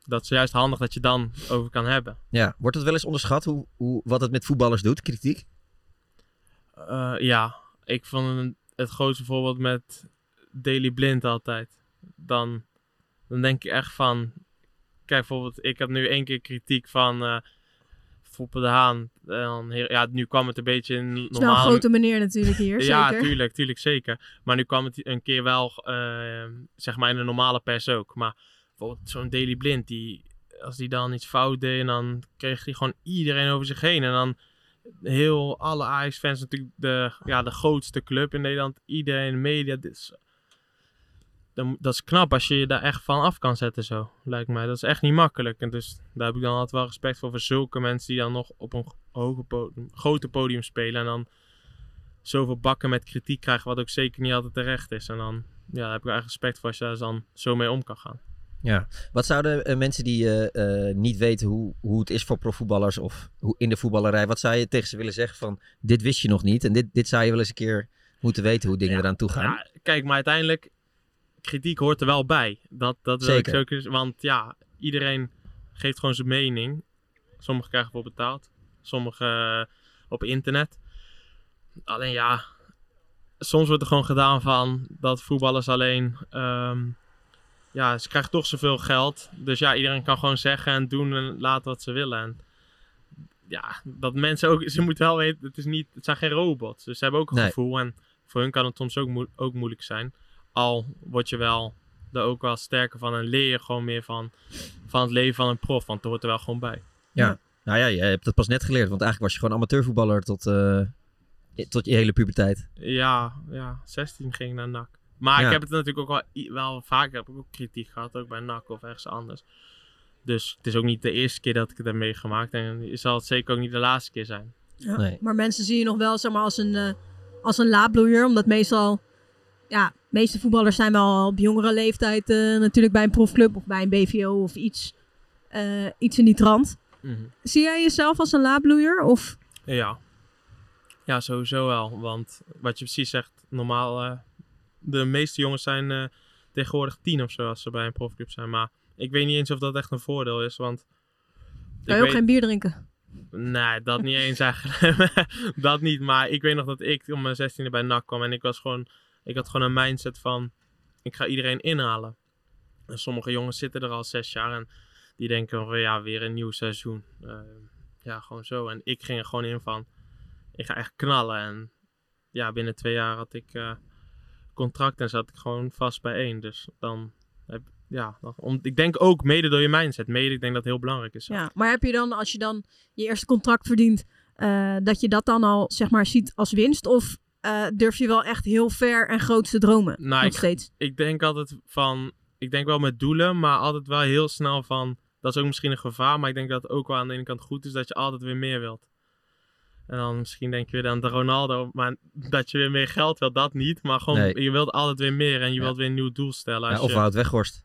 K: dat is juist handig dat je dan over kan hebben.
I: Ja, wordt het wel eens onderschat hoe, hoe, wat het met voetballers doet, kritiek?
K: Eh, ja, ik vond het grootste voorbeeld met Daily Blind altijd. Dan, dan denk ik echt van... Kijk, bijvoorbeeld, ik heb nu één keer kritiek van eh Foppe de Haan. En dan, heel- ja, nu kwam het een beetje in normale...
H: Het is wel een grote meneer natuurlijk hier,
K: ja,
H: zeker.
K: tuurlijk, tuurlijk, zeker. Maar nu kwam het een keer wel, eh, zeg maar, in de normale pers ook. Maar bijvoorbeeld zo'n Daily Blind, die, als die dan iets fout deed... en dan kreeg hij gewoon iedereen over zich heen. En dan heel alle Ajax-fans natuurlijk de, ja, de grootste club in Nederland. Iedereen, in de media. Dus, dan, dat is knap als je je daar echt van af kan zetten zo, lijkt mij. Dat is echt niet makkelijk. En dus daar heb ik dan altijd wel respect voor. Voor zulke mensen die dan nog op een hoge podium, grote podium spelen. En dan zoveel bakken met kritiek krijgen, wat ook zeker niet altijd terecht is. En dan ja, daar heb ik wel echt respect voor als je daar dan zo mee om kan gaan.
I: Ja. Wat zouden eh, mensen die eh, eh, niet weten hoe, hoe het is voor profvoetballers of hoe, in de voetballerij, wat zou je tegen ze willen zeggen van dit wist je nog niet en dit, dit zou je wel eens een keer moeten weten hoe dingen eraan toe gaan?
K: Ja, kijk, maar uiteindelijk, kritiek hoort er wel bij. Dat, dat wil ik
I: Zeker.
K: zeker- Want ja, iedereen geeft gewoon zijn mening. Sommigen krijgen voor betaald, sommigen eh, op internet. Alleen ja, soms wordt er gewoon gedaan van dat voetballers alleen. ehm, ja, ze krijgen toch zoveel geld. Dus ja, iedereen kan gewoon zeggen en doen en laten wat ze willen. En ja, dat mensen ook. Ze moeten wel weten, het, is niet, het zijn geen robots. Dus ze hebben ook een
I: Nee.
K: gevoel. En voor hun kan het soms ook, moe- ook moeilijk zijn. Al word je wel er ook wel sterker van en leer je gewoon meer van, van het leven van een prof. Want het hoort er wel gewoon bij.
I: Ja. Nou ja, je hebt dat pas net geleerd, want eigenlijk was je gewoon amateurvoetballer tot, eh, tot je hele puberteit.
K: Ja, ja, 16 ging ik naar NAC. Maar
I: Ja.
K: ik heb het natuurlijk ook wel, i- wel vaker heb ik ook kritiek gehad, ook bij NAC of ergens anders. Dus het is ook niet de eerste keer dat ik het heb meegemaakt. En het zal het zeker ook niet de laatste keer zijn.
H: Ja, Maar mensen zien je nog wel zeg maar, als, een, eh als een laadbloeier. Omdat meestal, ja, de meeste voetballers zijn wel op jongere leeftijd eh, natuurlijk bij een profclub of bij een BVO of iets, eh, iets in die trant.
K: Mhm.
H: Zie jij jezelf als een laadbloeier? Of
K: Ja. Ja, sowieso wel. Want wat je precies zegt, normaal... eh, de meeste jongens zijn eh, tegenwoordig tien of zo als ze bij een profclub zijn. Maar ik weet niet eens of dat echt een voordeel is, want... ik
H: kan je ook
K: weet-
H: geen bier drinken?
K: Nee, dat niet eens eigenlijk. dat niet. Maar ik weet nog dat ik om mijn 16e bij NAC kwam. En ik was gewoon. Ik had gewoon een mindset van. Ik ga iedereen inhalen. En sommige jongens zitten er al zes jaar. En die denken van ja, weer een nieuw seizoen. Eh, ja, gewoon zo. En ik ging er gewoon in van. Ik ga echt knallen. En ja, binnen twee jaar had ik eh, contract en zat ik gewoon vast bij één. Dus dan. Heb, ja, dan, om, ik denk ook mede door je mindset. Mede, ik denk dat het heel belangrijk is.
H: Ja. Maar heb je dan, als je dan je eerste contract verdient, eh, dat je dat dan al zeg maar, ziet als winst? Of eh, durf je wel echt heel ver en groot te dromen?
K: Nou,
H: nog
K: ik,
H: steeds.
K: ik denk altijd van, ik denk wel met doelen, maar altijd wel heel snel van, dat is ook misschien een gevaar, maar ik denk dat het ook wel aan de ene kant goed is dat je altijd weer meer wilt. En dan misschien denk je weer aan de Ronaldo, maar dat je weer meer geld wilt, dat niet. Maar gewoon,
I: Nee.
K: je wilt altijd weer meer en je wilt weer een nieuw doel stellen.
I: Ja,
K: als
I: of
K: je-
I: Wout Weghorst.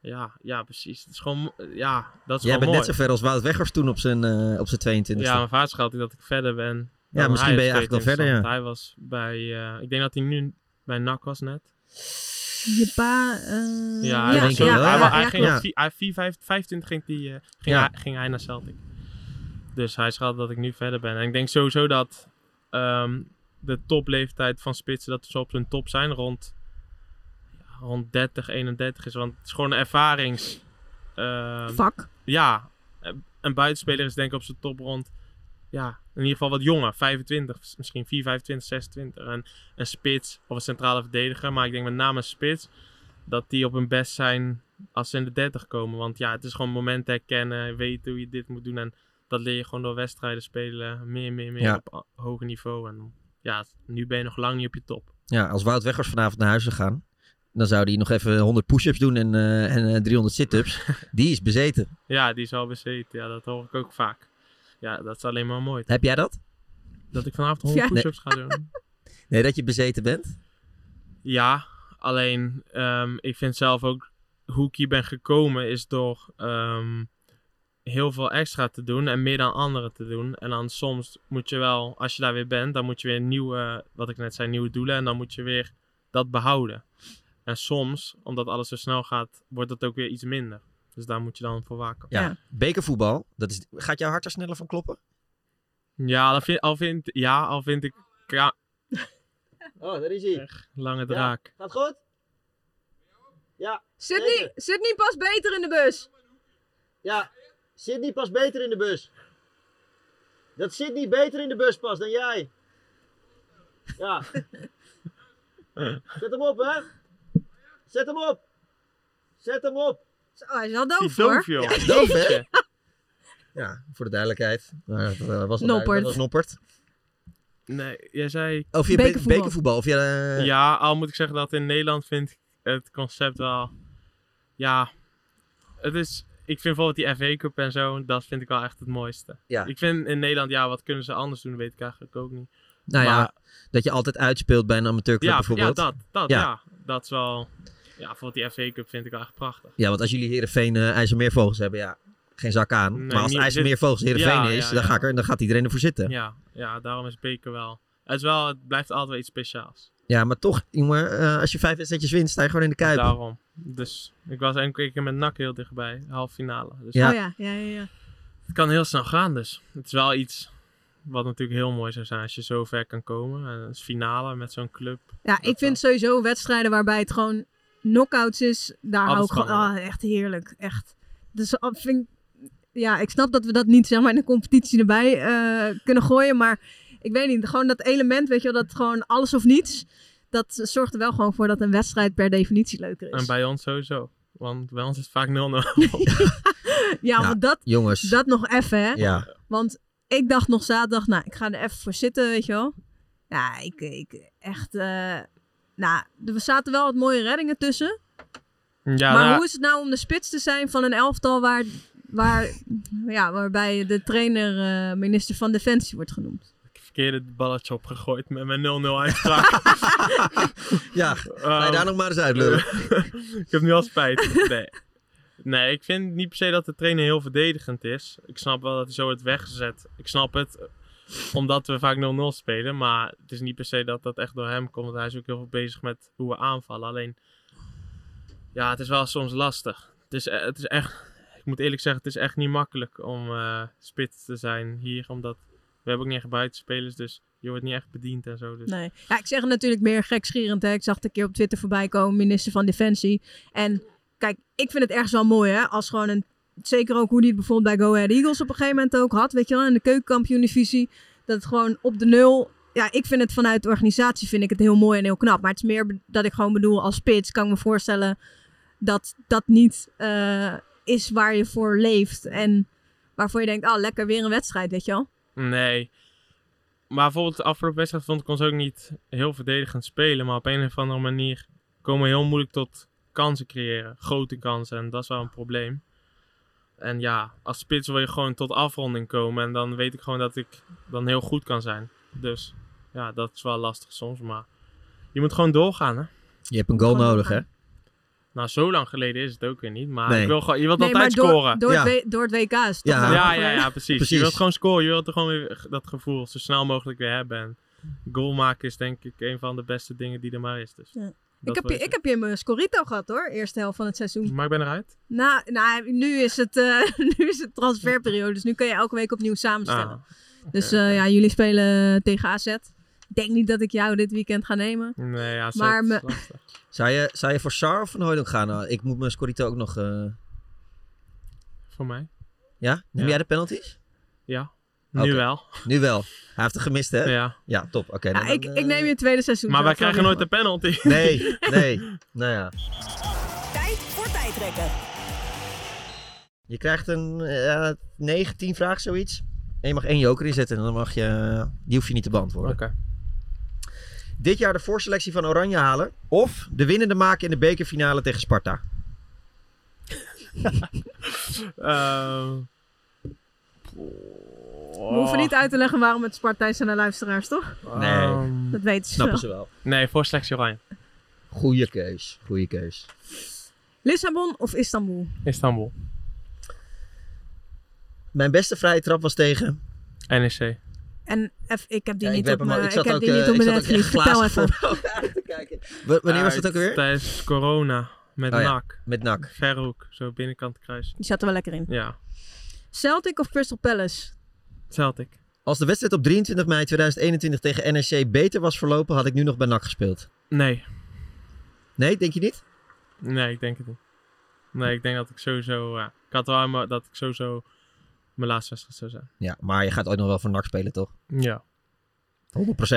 K: Ja, ja, precies. Het is gewoon, ja, dat is
I: Jij
K: gewoon
I: bent
K: mooi.
I: net zo ver als Wout Weghorst toen op zijn, eh, op zijn 22e.
K: Ja, mijn vader schat dat ik verder ben.
I: Ja,
K: dan
I: misschien
K: hij
I: ben je
K: op
I: eigenlijk al verder, ja.
K: 22e, want Hij was bij, eh, ik denk dat hij nu bij NAC was net.
H: Je pa. eh,
K: Ja, hij, was
H: ja,
K: zo,
H: ja,
K: hij,
H: ja,
K: wa- hij
H: ja,
K: ging
H: klopt.
K: op vi- hij- vier- vijf- 25 ging, die, eh, ging,
I: Ja.
K: hij, ging hij naar Celtic. Dus hij schat dat ik nu verder ben. En ik denk sowieso dat ehm, de topleeftijd van spitsen, dat ze op hun top zijn rond, ja, rond 30, 31 is. Want het is gewoon een ervarings... ehm,
H: Vak.
K: Ja, een- een buitenspeler is denk ik op zijn top rond, ja, in ieder geval wat jonger. 25, s- misschien 4, 25, 26. En een spits of een centrale verdediger. Maar ik denk met name een spits, dat die op hun best zijn als ze in de 30 komen. Want ja, het is gewoon momenten herkennen, weten hoe je dit moet doen. En dat leer je gewoon door wedstrijden spelen. Meer, meer, meer
I: Ja.
K: op a- hoger niveau. En ja, nu ben je nog lang niet op je top.
I: Ja, als Wout Weghorst vanavond naar huis zou gaan, dan zou hij nog even 100 push-ups doen en, eh, en eh, 300 sit-ups. Die is bezeten.
K: Ja, die is al bezeten. Ja, dat hoor ik ook vaak. Ja, dat is alleen maar mooi.
I: Heb jij dat?
K: Dat ik vanavond 100
I: Ja.
K: push-ups ga doen.
I: Nee, dat je bezeten bent?
K: Ja, alleen ehm, ik vind zelf ook hoe ik hier ben gekomen is door ehm, heel veel extra te doen en meer dan anderen te doen. En dan soms moet je wel, als je daar weer bent, dan moet je weer nieuwe, wat ik net zei, nieuwe doelen en dan moet je weer dat behouden. En soms, omdat alles zo snel gaat, wordt dat ook weer iets minder. Dus daar moet je dan voor waken.
I: Ja. Bekervoetbal, dat is, gaat jouw hart er sneller van kloppen?
K: Ja, al vind, al vind, ja, al vind ik ja,
I: Oh, daar is hij.
K: lange draak.
I: Gaat goed? Ja.
H: Sydney, Sydney past beter in de bus.
B: Ja, Sydney past beter in de bus. Dat Sydney beter in de bus past dan jij. Ja. Zet hem op, hè? Zet hem op. Zet hem op.
H: Oh, hij is al
I: Die
H: doof
I: doof,
H: hoor.
I: joh. Ja, doof, hè? Ja, voor de duidelijkheid. Maar dat, eh, was het
H: Noppert.
I: eigenlijk- Dat was Noppert.
K: Nee, jij zei...
I: Of je be- Bekervoetbal. bekervoetbal, of je, eh,
K: Ja, al moet ik zeggen dat in Nederland vind ik het concept wel... Ja, het is... Ik vind bijvoorbeeld die FA Cup en zo, dat vind ik wel echt het mooiste.
I: Ja.
K: Ik vind in Nederland, ja, wat kunnen ze anders doen, weet ik eigenlijk ook niet.
I: Nou ja,
K: Maar-
I: dat je altijd uitspeelt bij een amateurclub
K: ja,
I: bijvoorbeeld.
K: Ja, dat, dat,
I: ja.
K: ja. Dat is wel... Ja, bijvoorbeeld die FA Cup vind ik wel echt prachtig.
I: Ja, want als jullie Heerenveen eh IJsselmeervogels hebben, ja, geen zak aan.
K: Nee,
I: maar als
K: niet-
I: het IJsselmeervogels
K: dit-
I: Heerenveen
K: ja,
I: is,
K: ja,
I: dan,
K: ja.
I: Ga ik er, dan gaat iedereen ervoor zitten.
K: Ja, ja daarom is beker wel... Het, is wel, het blijft altijd wel iets speciaals.
I: Ja, maar toch, jongen, eh, als je vijf wedstrijdjes wint, sta je gewoon in de Kuip.
K: Daarom. Dus ik was een keer met NAC heel dichtbij, half finale. Dus
I: Ja. Oh
H: Ja, ja, ja. ja.
K: Het kan heel snel gaan, dus het is wel iets wat natuurlijk heel mooi zou zijn als je zo ver kan komen. En als finale met zo'n club.
H: Ja, ik vind sowieso wedstrijden waarbij het gewoon knockouts is, daar hou ik
K: Altijd
H: gewoon
K: spannend.
H: ah, echt heerlijk. Echt. Dus ah, vind ik- ja, ik snap dat we dat niet zeg maar in de competitie erbij eh, kunnen gooien, maar ik weet niet, gewoon dat element, weet je wel, dat gewoon alles of niets, dat zorgt er wel gewoon voor dat een wedstrijd per definitie leuker is.
K: En bij ons sowieso. Want bij ons is het vaak 0-0.
H: Ja, want dat,
I: jongens.
H: dat nog even, hè?
I: Ja.
H: Want ik dacht nog zaterdag, nou, ik ga er even voor zitten, weet je wel. Ja, ik, ik echt, eh, nou, er zaten wel wat mooie reddingen tussen.
K: Ja,
H: maar
K: nou,
H: hoe is het nou om de spits te zijn van een elftal waar, waar, ja, waarbij de trainer eh, minister van Defensie wordt genoemd?
K: verkeerde balletje opgegooid met mijn 0-0 uitspraak.
I: ja,
K: ga
I: je daar nog maar eens uitlullen.
K: ik heb nu al spijt. Nee. nee, ik vind niet per se dat de trainer heel verdedigend is. Ik snap wel dat hij zo wordt weggezet. Ik snap het, eh, omdat we vaak 0-0 spelen. Maar het is niet per se dat dat echt door hem komt. Want hij is ook heel veel bezig met hoe we aanvallen. Alleen, ja, het is wel soms lastig. Het is, eh, het is echt, ik moet eerlijk zeggen, het is echt niet makkelijk om eh, spits te zijn hier. Omdat we hebben ook niet echt buitenspelers, dus je wordt niet echt bediend en zo. Dus.
H: Nee. Ja, ik zeg het natuurlijk meer gekschierend. Hè. Ik zag het een keer op Twitter voorbij komen, minister van Defensie. En kijk, ik vind het ergens wel mooi hè, als gewoon een... Zeker ook hoe die het bijvoorbeeld bij Go Ahead Eagles op een gegeven moment ook had. Weet je wel, in de keukenkampioen-divisie. Dat het gewoon op de nul... Ja, ik vind het vanuit de organisatie vind ik het heel mooi en heel knap. Maar het is meer be- dat ik gewoon bedoel als spits kan ik me voorstellen dat dat niet eh, is waar je voor leeft. En waarvoor je denkt, ah lekker weer een wedstrijd, weet je wel.
K: Nee. Maar bijvoorbeeld de afgelopen wedstrijd vond ik ons ook niet heel verdedigend spelen. Maar op een of andere manier komen we heel moeilijk tot kansen creëren. Grote kansen. En dat is wel een probleem. En ja, als spits wil je gewoon tot afronding komen. En dan weet ik gewoon dat ik dan heel goed kan zijn. Dus ja, dat is wel lastig soms. Maar je moet gewoon doorgaan, hè.
I: Je hebt een goal nodig, hè?
K: Nou, zo lang geleden is het ook weer niet. Maar
I: Nee.
K: ik wil gewoon, je wilt
H: Nee,
K: altijd
H: maar door,
K: scoren.
H: Door, het, W- door het WK is het toch
K: Ja,
H: wel
K: ja,
H: gewoon-
K: ja, precies.
I: Precies.
K: Je wilt gewoon scoren. Je wilt er gewoon weer dat gevoel zo snel mogelijk weer hebben. En goal maken is denk ik een van de beste dingen die er maar is. Dus
H: Ja.
K: dat
H: Ik heb,
K: wil
H: je, ik heb je in mijn scorito gehad hoor, eerste helft van het seizoen.
K: Maar ik ben eruit.
H: Nou, nou nu, is het, eh, nu is het transferperiode, dus nu kun je elke week opnieuw samenstellen.
K: Ah,
H: Dus eh, ja, jullie spelen tegen AZ. Ik denk niet dat ik jou dit weekend ga nemen.
K: Nee, ja,
H: Maar me-
I: Zou je, zou je voor Sar of Van Hooydonk gaan? Nou, Ik moet mijn scorito ook nog... eh,
K: voor mij.
I: Ja? Neem
K: Ja.
I: jij de penalties?
K: Ja. Nu wel.
I: Nu wel. Hij heeft er gemist, hè?
K: Ja.
I: Ja, top. Oké.
H: Ja,
I: nou, dan,
H: Ah, ik,
I: eh,
H: ik neem je tweede seizoen.
K: Maar wij
H: Dat is wel
K: krijgen nooit
H: weer
K: de penalty.
I: Nee, nee. Nou ja.
R: Tijd voor tijdrekken.
I: Je krijgt een eh 19 vraag, zoiets. En je mag één joker inzetten en dan mag je, eh, die hoef je niet te beantwoorden. Dit jaar de voorselectie van Oranje halen. Of de winnende maken in de bekerfinale tegen Sparta.
K: Ehm,
H: We
I: Oh.
H: hoeven niet uit te leggen waarom het Sparta is aan de luisteraars, toch?
K: ehm,
H: Dat weten ze
I: Nou,
H: wel.
K: Nee, voor slechts Oranje.
I: Goeie keus, goede keus.
H: Lissabon of Istanbul?
K: Istanbul.
I: Mijn beste vrije trap was tegen...
K: NEC.
H: En eff, ik heb die
I: Ja, ik
H: niet
I: heb
H: op
I: hem al-
H: mijn
I: ik
H: ik
I: zat
H: heb
I: ook,
H: die
I: eh,
H: niet op
I: ik
H: mijn
I: zat ook
H: netvlies.
I: echt
H: Vertel
I: glazen
H: even.
I: W- wanneer was dat ook weer?
K: Tijdens corona. Met
I: Oh ja,
K: NAC.
I: Met NAC.
K: Verre hoek, zo binnenkant kruis.
H: Die zat er wel lekker in.
K: Ja,
H: Celtic of Crystal Palace?
K: Celtic.
I: Als de wedstrijd op 23 mei 2021 tegen NEC beter was verlopen, had ik nu nog bij NAC gespeeld.
K: Nee.
I: Nee, denk je niet?
K: Nee, ik denk het niet. Nee, ik denk dat ik sowieso... ja, ik had wel aan me- dat ik sowieso mijn laatste wedstrijd zou zijn.
I: Ja, maar je gaat ooit nog wel voor NAC spelen, toch?
K: Ja.
I: 100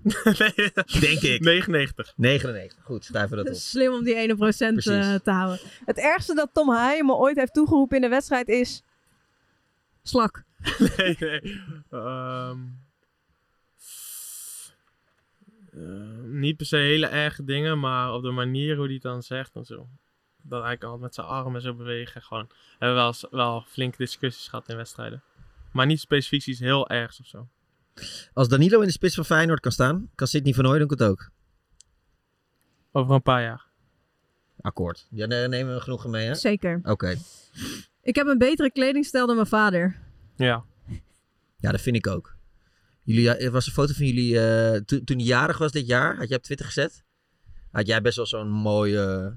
I: Denk ik.
K: 99.
I: 99. Goed, schrijven we dat
H: Het
I: op.
H: is slim om die ene procent eh,
I: Precies.
H: te houden.
O: Het ergste dat Tom Haaien me ooit heeft toegeroepen in de wedstrijd is...
H: Slak.
K: nee, nee. Ehm, eh, niet per se hele erge dingen, maar op de manier hoe hij het dan zegt en zo. Dat hij altijd met zijn armen zo bewegen. Gewoon. Hebben we wel, eens- wel flinke discussies gehad in wedstrijden. Maar niet specifiek iets heel ergs of zo.
I: Als Danilo in de spits van Feyenoord kan staan, kan Sidney van Hooydonk het ook.
K: Over een paar jaar.
I: Akkoord. Ja, daar nemen we genoegen mee, hè?
H: Zeker.
I: Oké.
H: Ik heb een betere kledingstijl dan mijn vader.
K: Ja.
I: Ja, dat vind ik ook. Jullie, ja, er was een foto van jullie eh, toen, toen je jarig was dit jaar. Had jij op Twitter gezet? Had jij best wel zo'n mooie,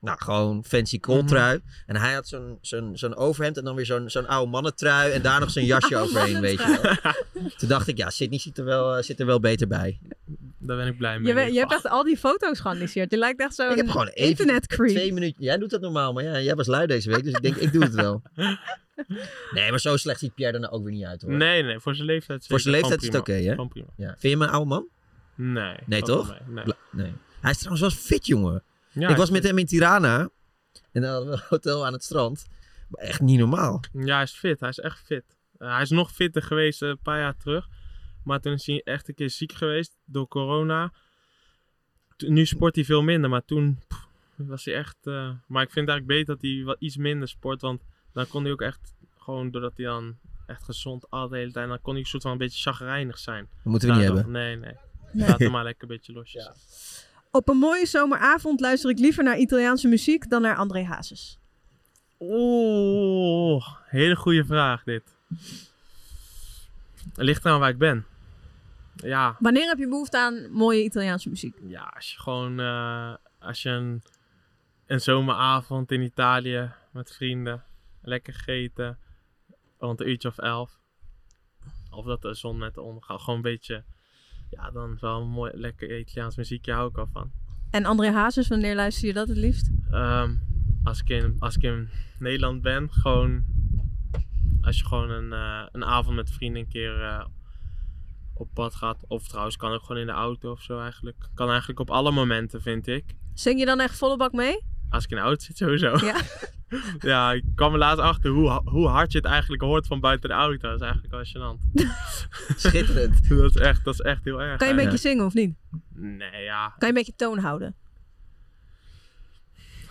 I: nou gewoon fancy kooltrui. En hij had zo'n zo'n zo'n overhemd en dan weer zo'n zo'n oude mannentrui. En daar nog zo'n jasje
K: Oude
I: overheen, weet je wel. toen dacht ik, ja, Sydney zit er wel, eh, zit er wel beter bij.
K: Daar ben ik blij
H: Je,
K: mee.
H: we- je hebt echt al die foto's geanalyseerd. Je lijkt echt zo'n
I: Ik heb gewoon even
H: internet
I: twee minuten. Jij doet dat normaal, maar ja, jij was lui deze week. Dus ik denk, ik doe het wel. Nee, maar zo slecht ziet Pierre er nou ook weer niet uit, hoor.
K: Nee, nee, voor zijn leeftijd.
I: Voor zijn
K: zeker.
I: leeftijd is het
K: Gewoon
I: oké, hè?
K: prima. Gewoon prima.
I: Ja. Vind je hem een oude man?
K: Nee.
I: Nee,
K: valt
I: toch?
K: wel mee, nee.
I: Bla- nee. Hij is trouwens wel fit, jongen.
K: Ja, hij
I: ik was
K: is
I: met hem in Tirana. En dan hadden we een hotel aan het strand. Maar echt niet normaal.
K: Ja, hij is fit. Hij is echt fit. Uh, hij is nog fitter geweest eh, een paar jaar terug. Maar toen is hij echt een keer ziek geweest door corona. T- nu sport hij veel minder, maar toen pff, was hij echt... eh, Maar ik vind het eigenlijk beter dat hij wat iets minder sport. Want dan kon hij ook echt gewoon, doordat hij dan echt gezond at de hele tijd... Dan kon hij een soort van een beetje chagrijnig zijn.
I: Dat moeten we niet
K: Daardoor-
I: hebben.
K: Nee, nee.
H: Nee.
K: Laat hem maar lekker een beetje losjes.
H: Op een mooie zomeravond luister ik liever naar Italiaanse muziek dan naar André Hazes.
K: Oeh, hele goede vraag dit. Ligt eraan waar ik ben. Ja,
H: Wanneer heb je behoefte aan mooie Italiaanse muziek?
K: Ja, als je gewoon eh, als je een, een zomeravond in Italië met vrienden lekker gegeten rond een uurtje of elf. Of dat de zon net ondergaat. Gewoon een beetje, ja, dan is wel een mooi, lekker Italiaans muziekje hou ik al van.
H: En André Hazes, wanneer luister je dat het liefst?
K: Ehm, als, ik in, als ik in Nederland ben, gewoon als je gewoon een, eh, een avond met vrienden een keer eh, op pad gaat. Of trouwens, kan ook gewoon in de auto of zo eigenlijk. Kan eigenlijk op alle momenten, vind ik.
H: Zing je dan echt volle bak mee?
K: Als ik in de auto zit, sowieso.
H: Ja.
K: ja, ik kwam er laatst achter hoe, ha- hoe hard je het eigenlijk hoort van buiten de auto. Dat is eigenlijk wel gênant.
I: Schitterend.
K: dat, is echt, dat is echt heel erg.
H: Kan je een beetje
K: eigenlijk.
H: zingen of niet?
K: Nee, ja.
H: Kan je een beetje toon houden?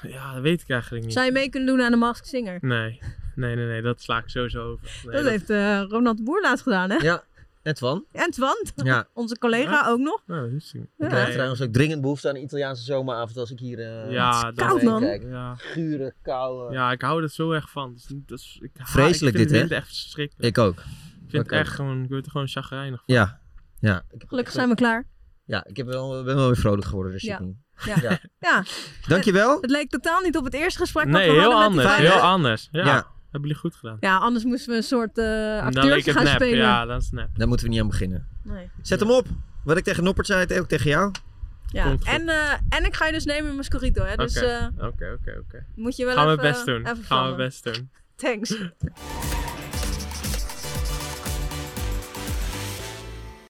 K: Ja, dat weet ik eigenlijk niet.
H: Zou je mee kunnen doen aan de Masked Singer?
K: Nee. Nee, nee, nee. Dat sla ik sowieso over. Nee,
H: dat, heeft eh, Ronald de Boer laatst gedaan, hè?
I: Ja, en Twan?
H: En Twant,
I: Ja.
H: onze collega ook nog.
K: Nou, dat is hij.
I: Ik
H: Ja.
I: krijg trouwens ook dringend behoefte aan een Italiaanse zomeravond als ik hier... eh,
K: Ja,
I: om
K: dat-
I: me
K: Koud,
I: heen
K: man.
I: kijk.
K: Ja.
I: Gure, koude...
K: Ja, ik hou er zo erg van. Dus, dus, ik, ha-
I: Vreselijk
K: ik vind
I: dit, hè?
K: het echt verschrikkelijk.
I: Ik ook.
K: Ik vind
I: Ik
K: het
I: ook.
K: echt gewoon, ik word er gewoon chagrijnig van.
I: Ja. ja. Ik-
H: Gelukkig zijn we klaar.
I: Ja, ik heb wel, ben wel weer vrolijk geworden, dus
H: Ja.
I: ik niet.
H: Ja.
I: Ja.
H: ja.
I: Dankjewel.
H: Het leek totaal niet op het eerste gesprek dat
K: Nee,
H: we
K: heel
H: hadden met
K: anders.
H: die
K: Heel
H: vijf.
K: anders. Ja.
I: Ja.
K: Hebben jullie goed gedaan.
H: Ja, anders moesten we een soort eh
K: Dan leek
H: acteurs
K: het
H: gaan
K: nep.
H: spelen.
K: Ja, dat is nep.
I: Daar moeten we niet aan beginnen.
H: Nee.
I: Zet hem op. Wat ik tegen Noppert zei, het ook tegen jou.
H: Ja.
I: Komt goed.
H: En, eh, en ik ga je dus nemen in Mascorito, hè? Dus eh,
K: Oké, oké, oké.
H: moet je wel
K: Gaan we
H: even-
K: best doen.
H: even
K: Gaan we
H: vallen.
K: best doen.
H: thanks.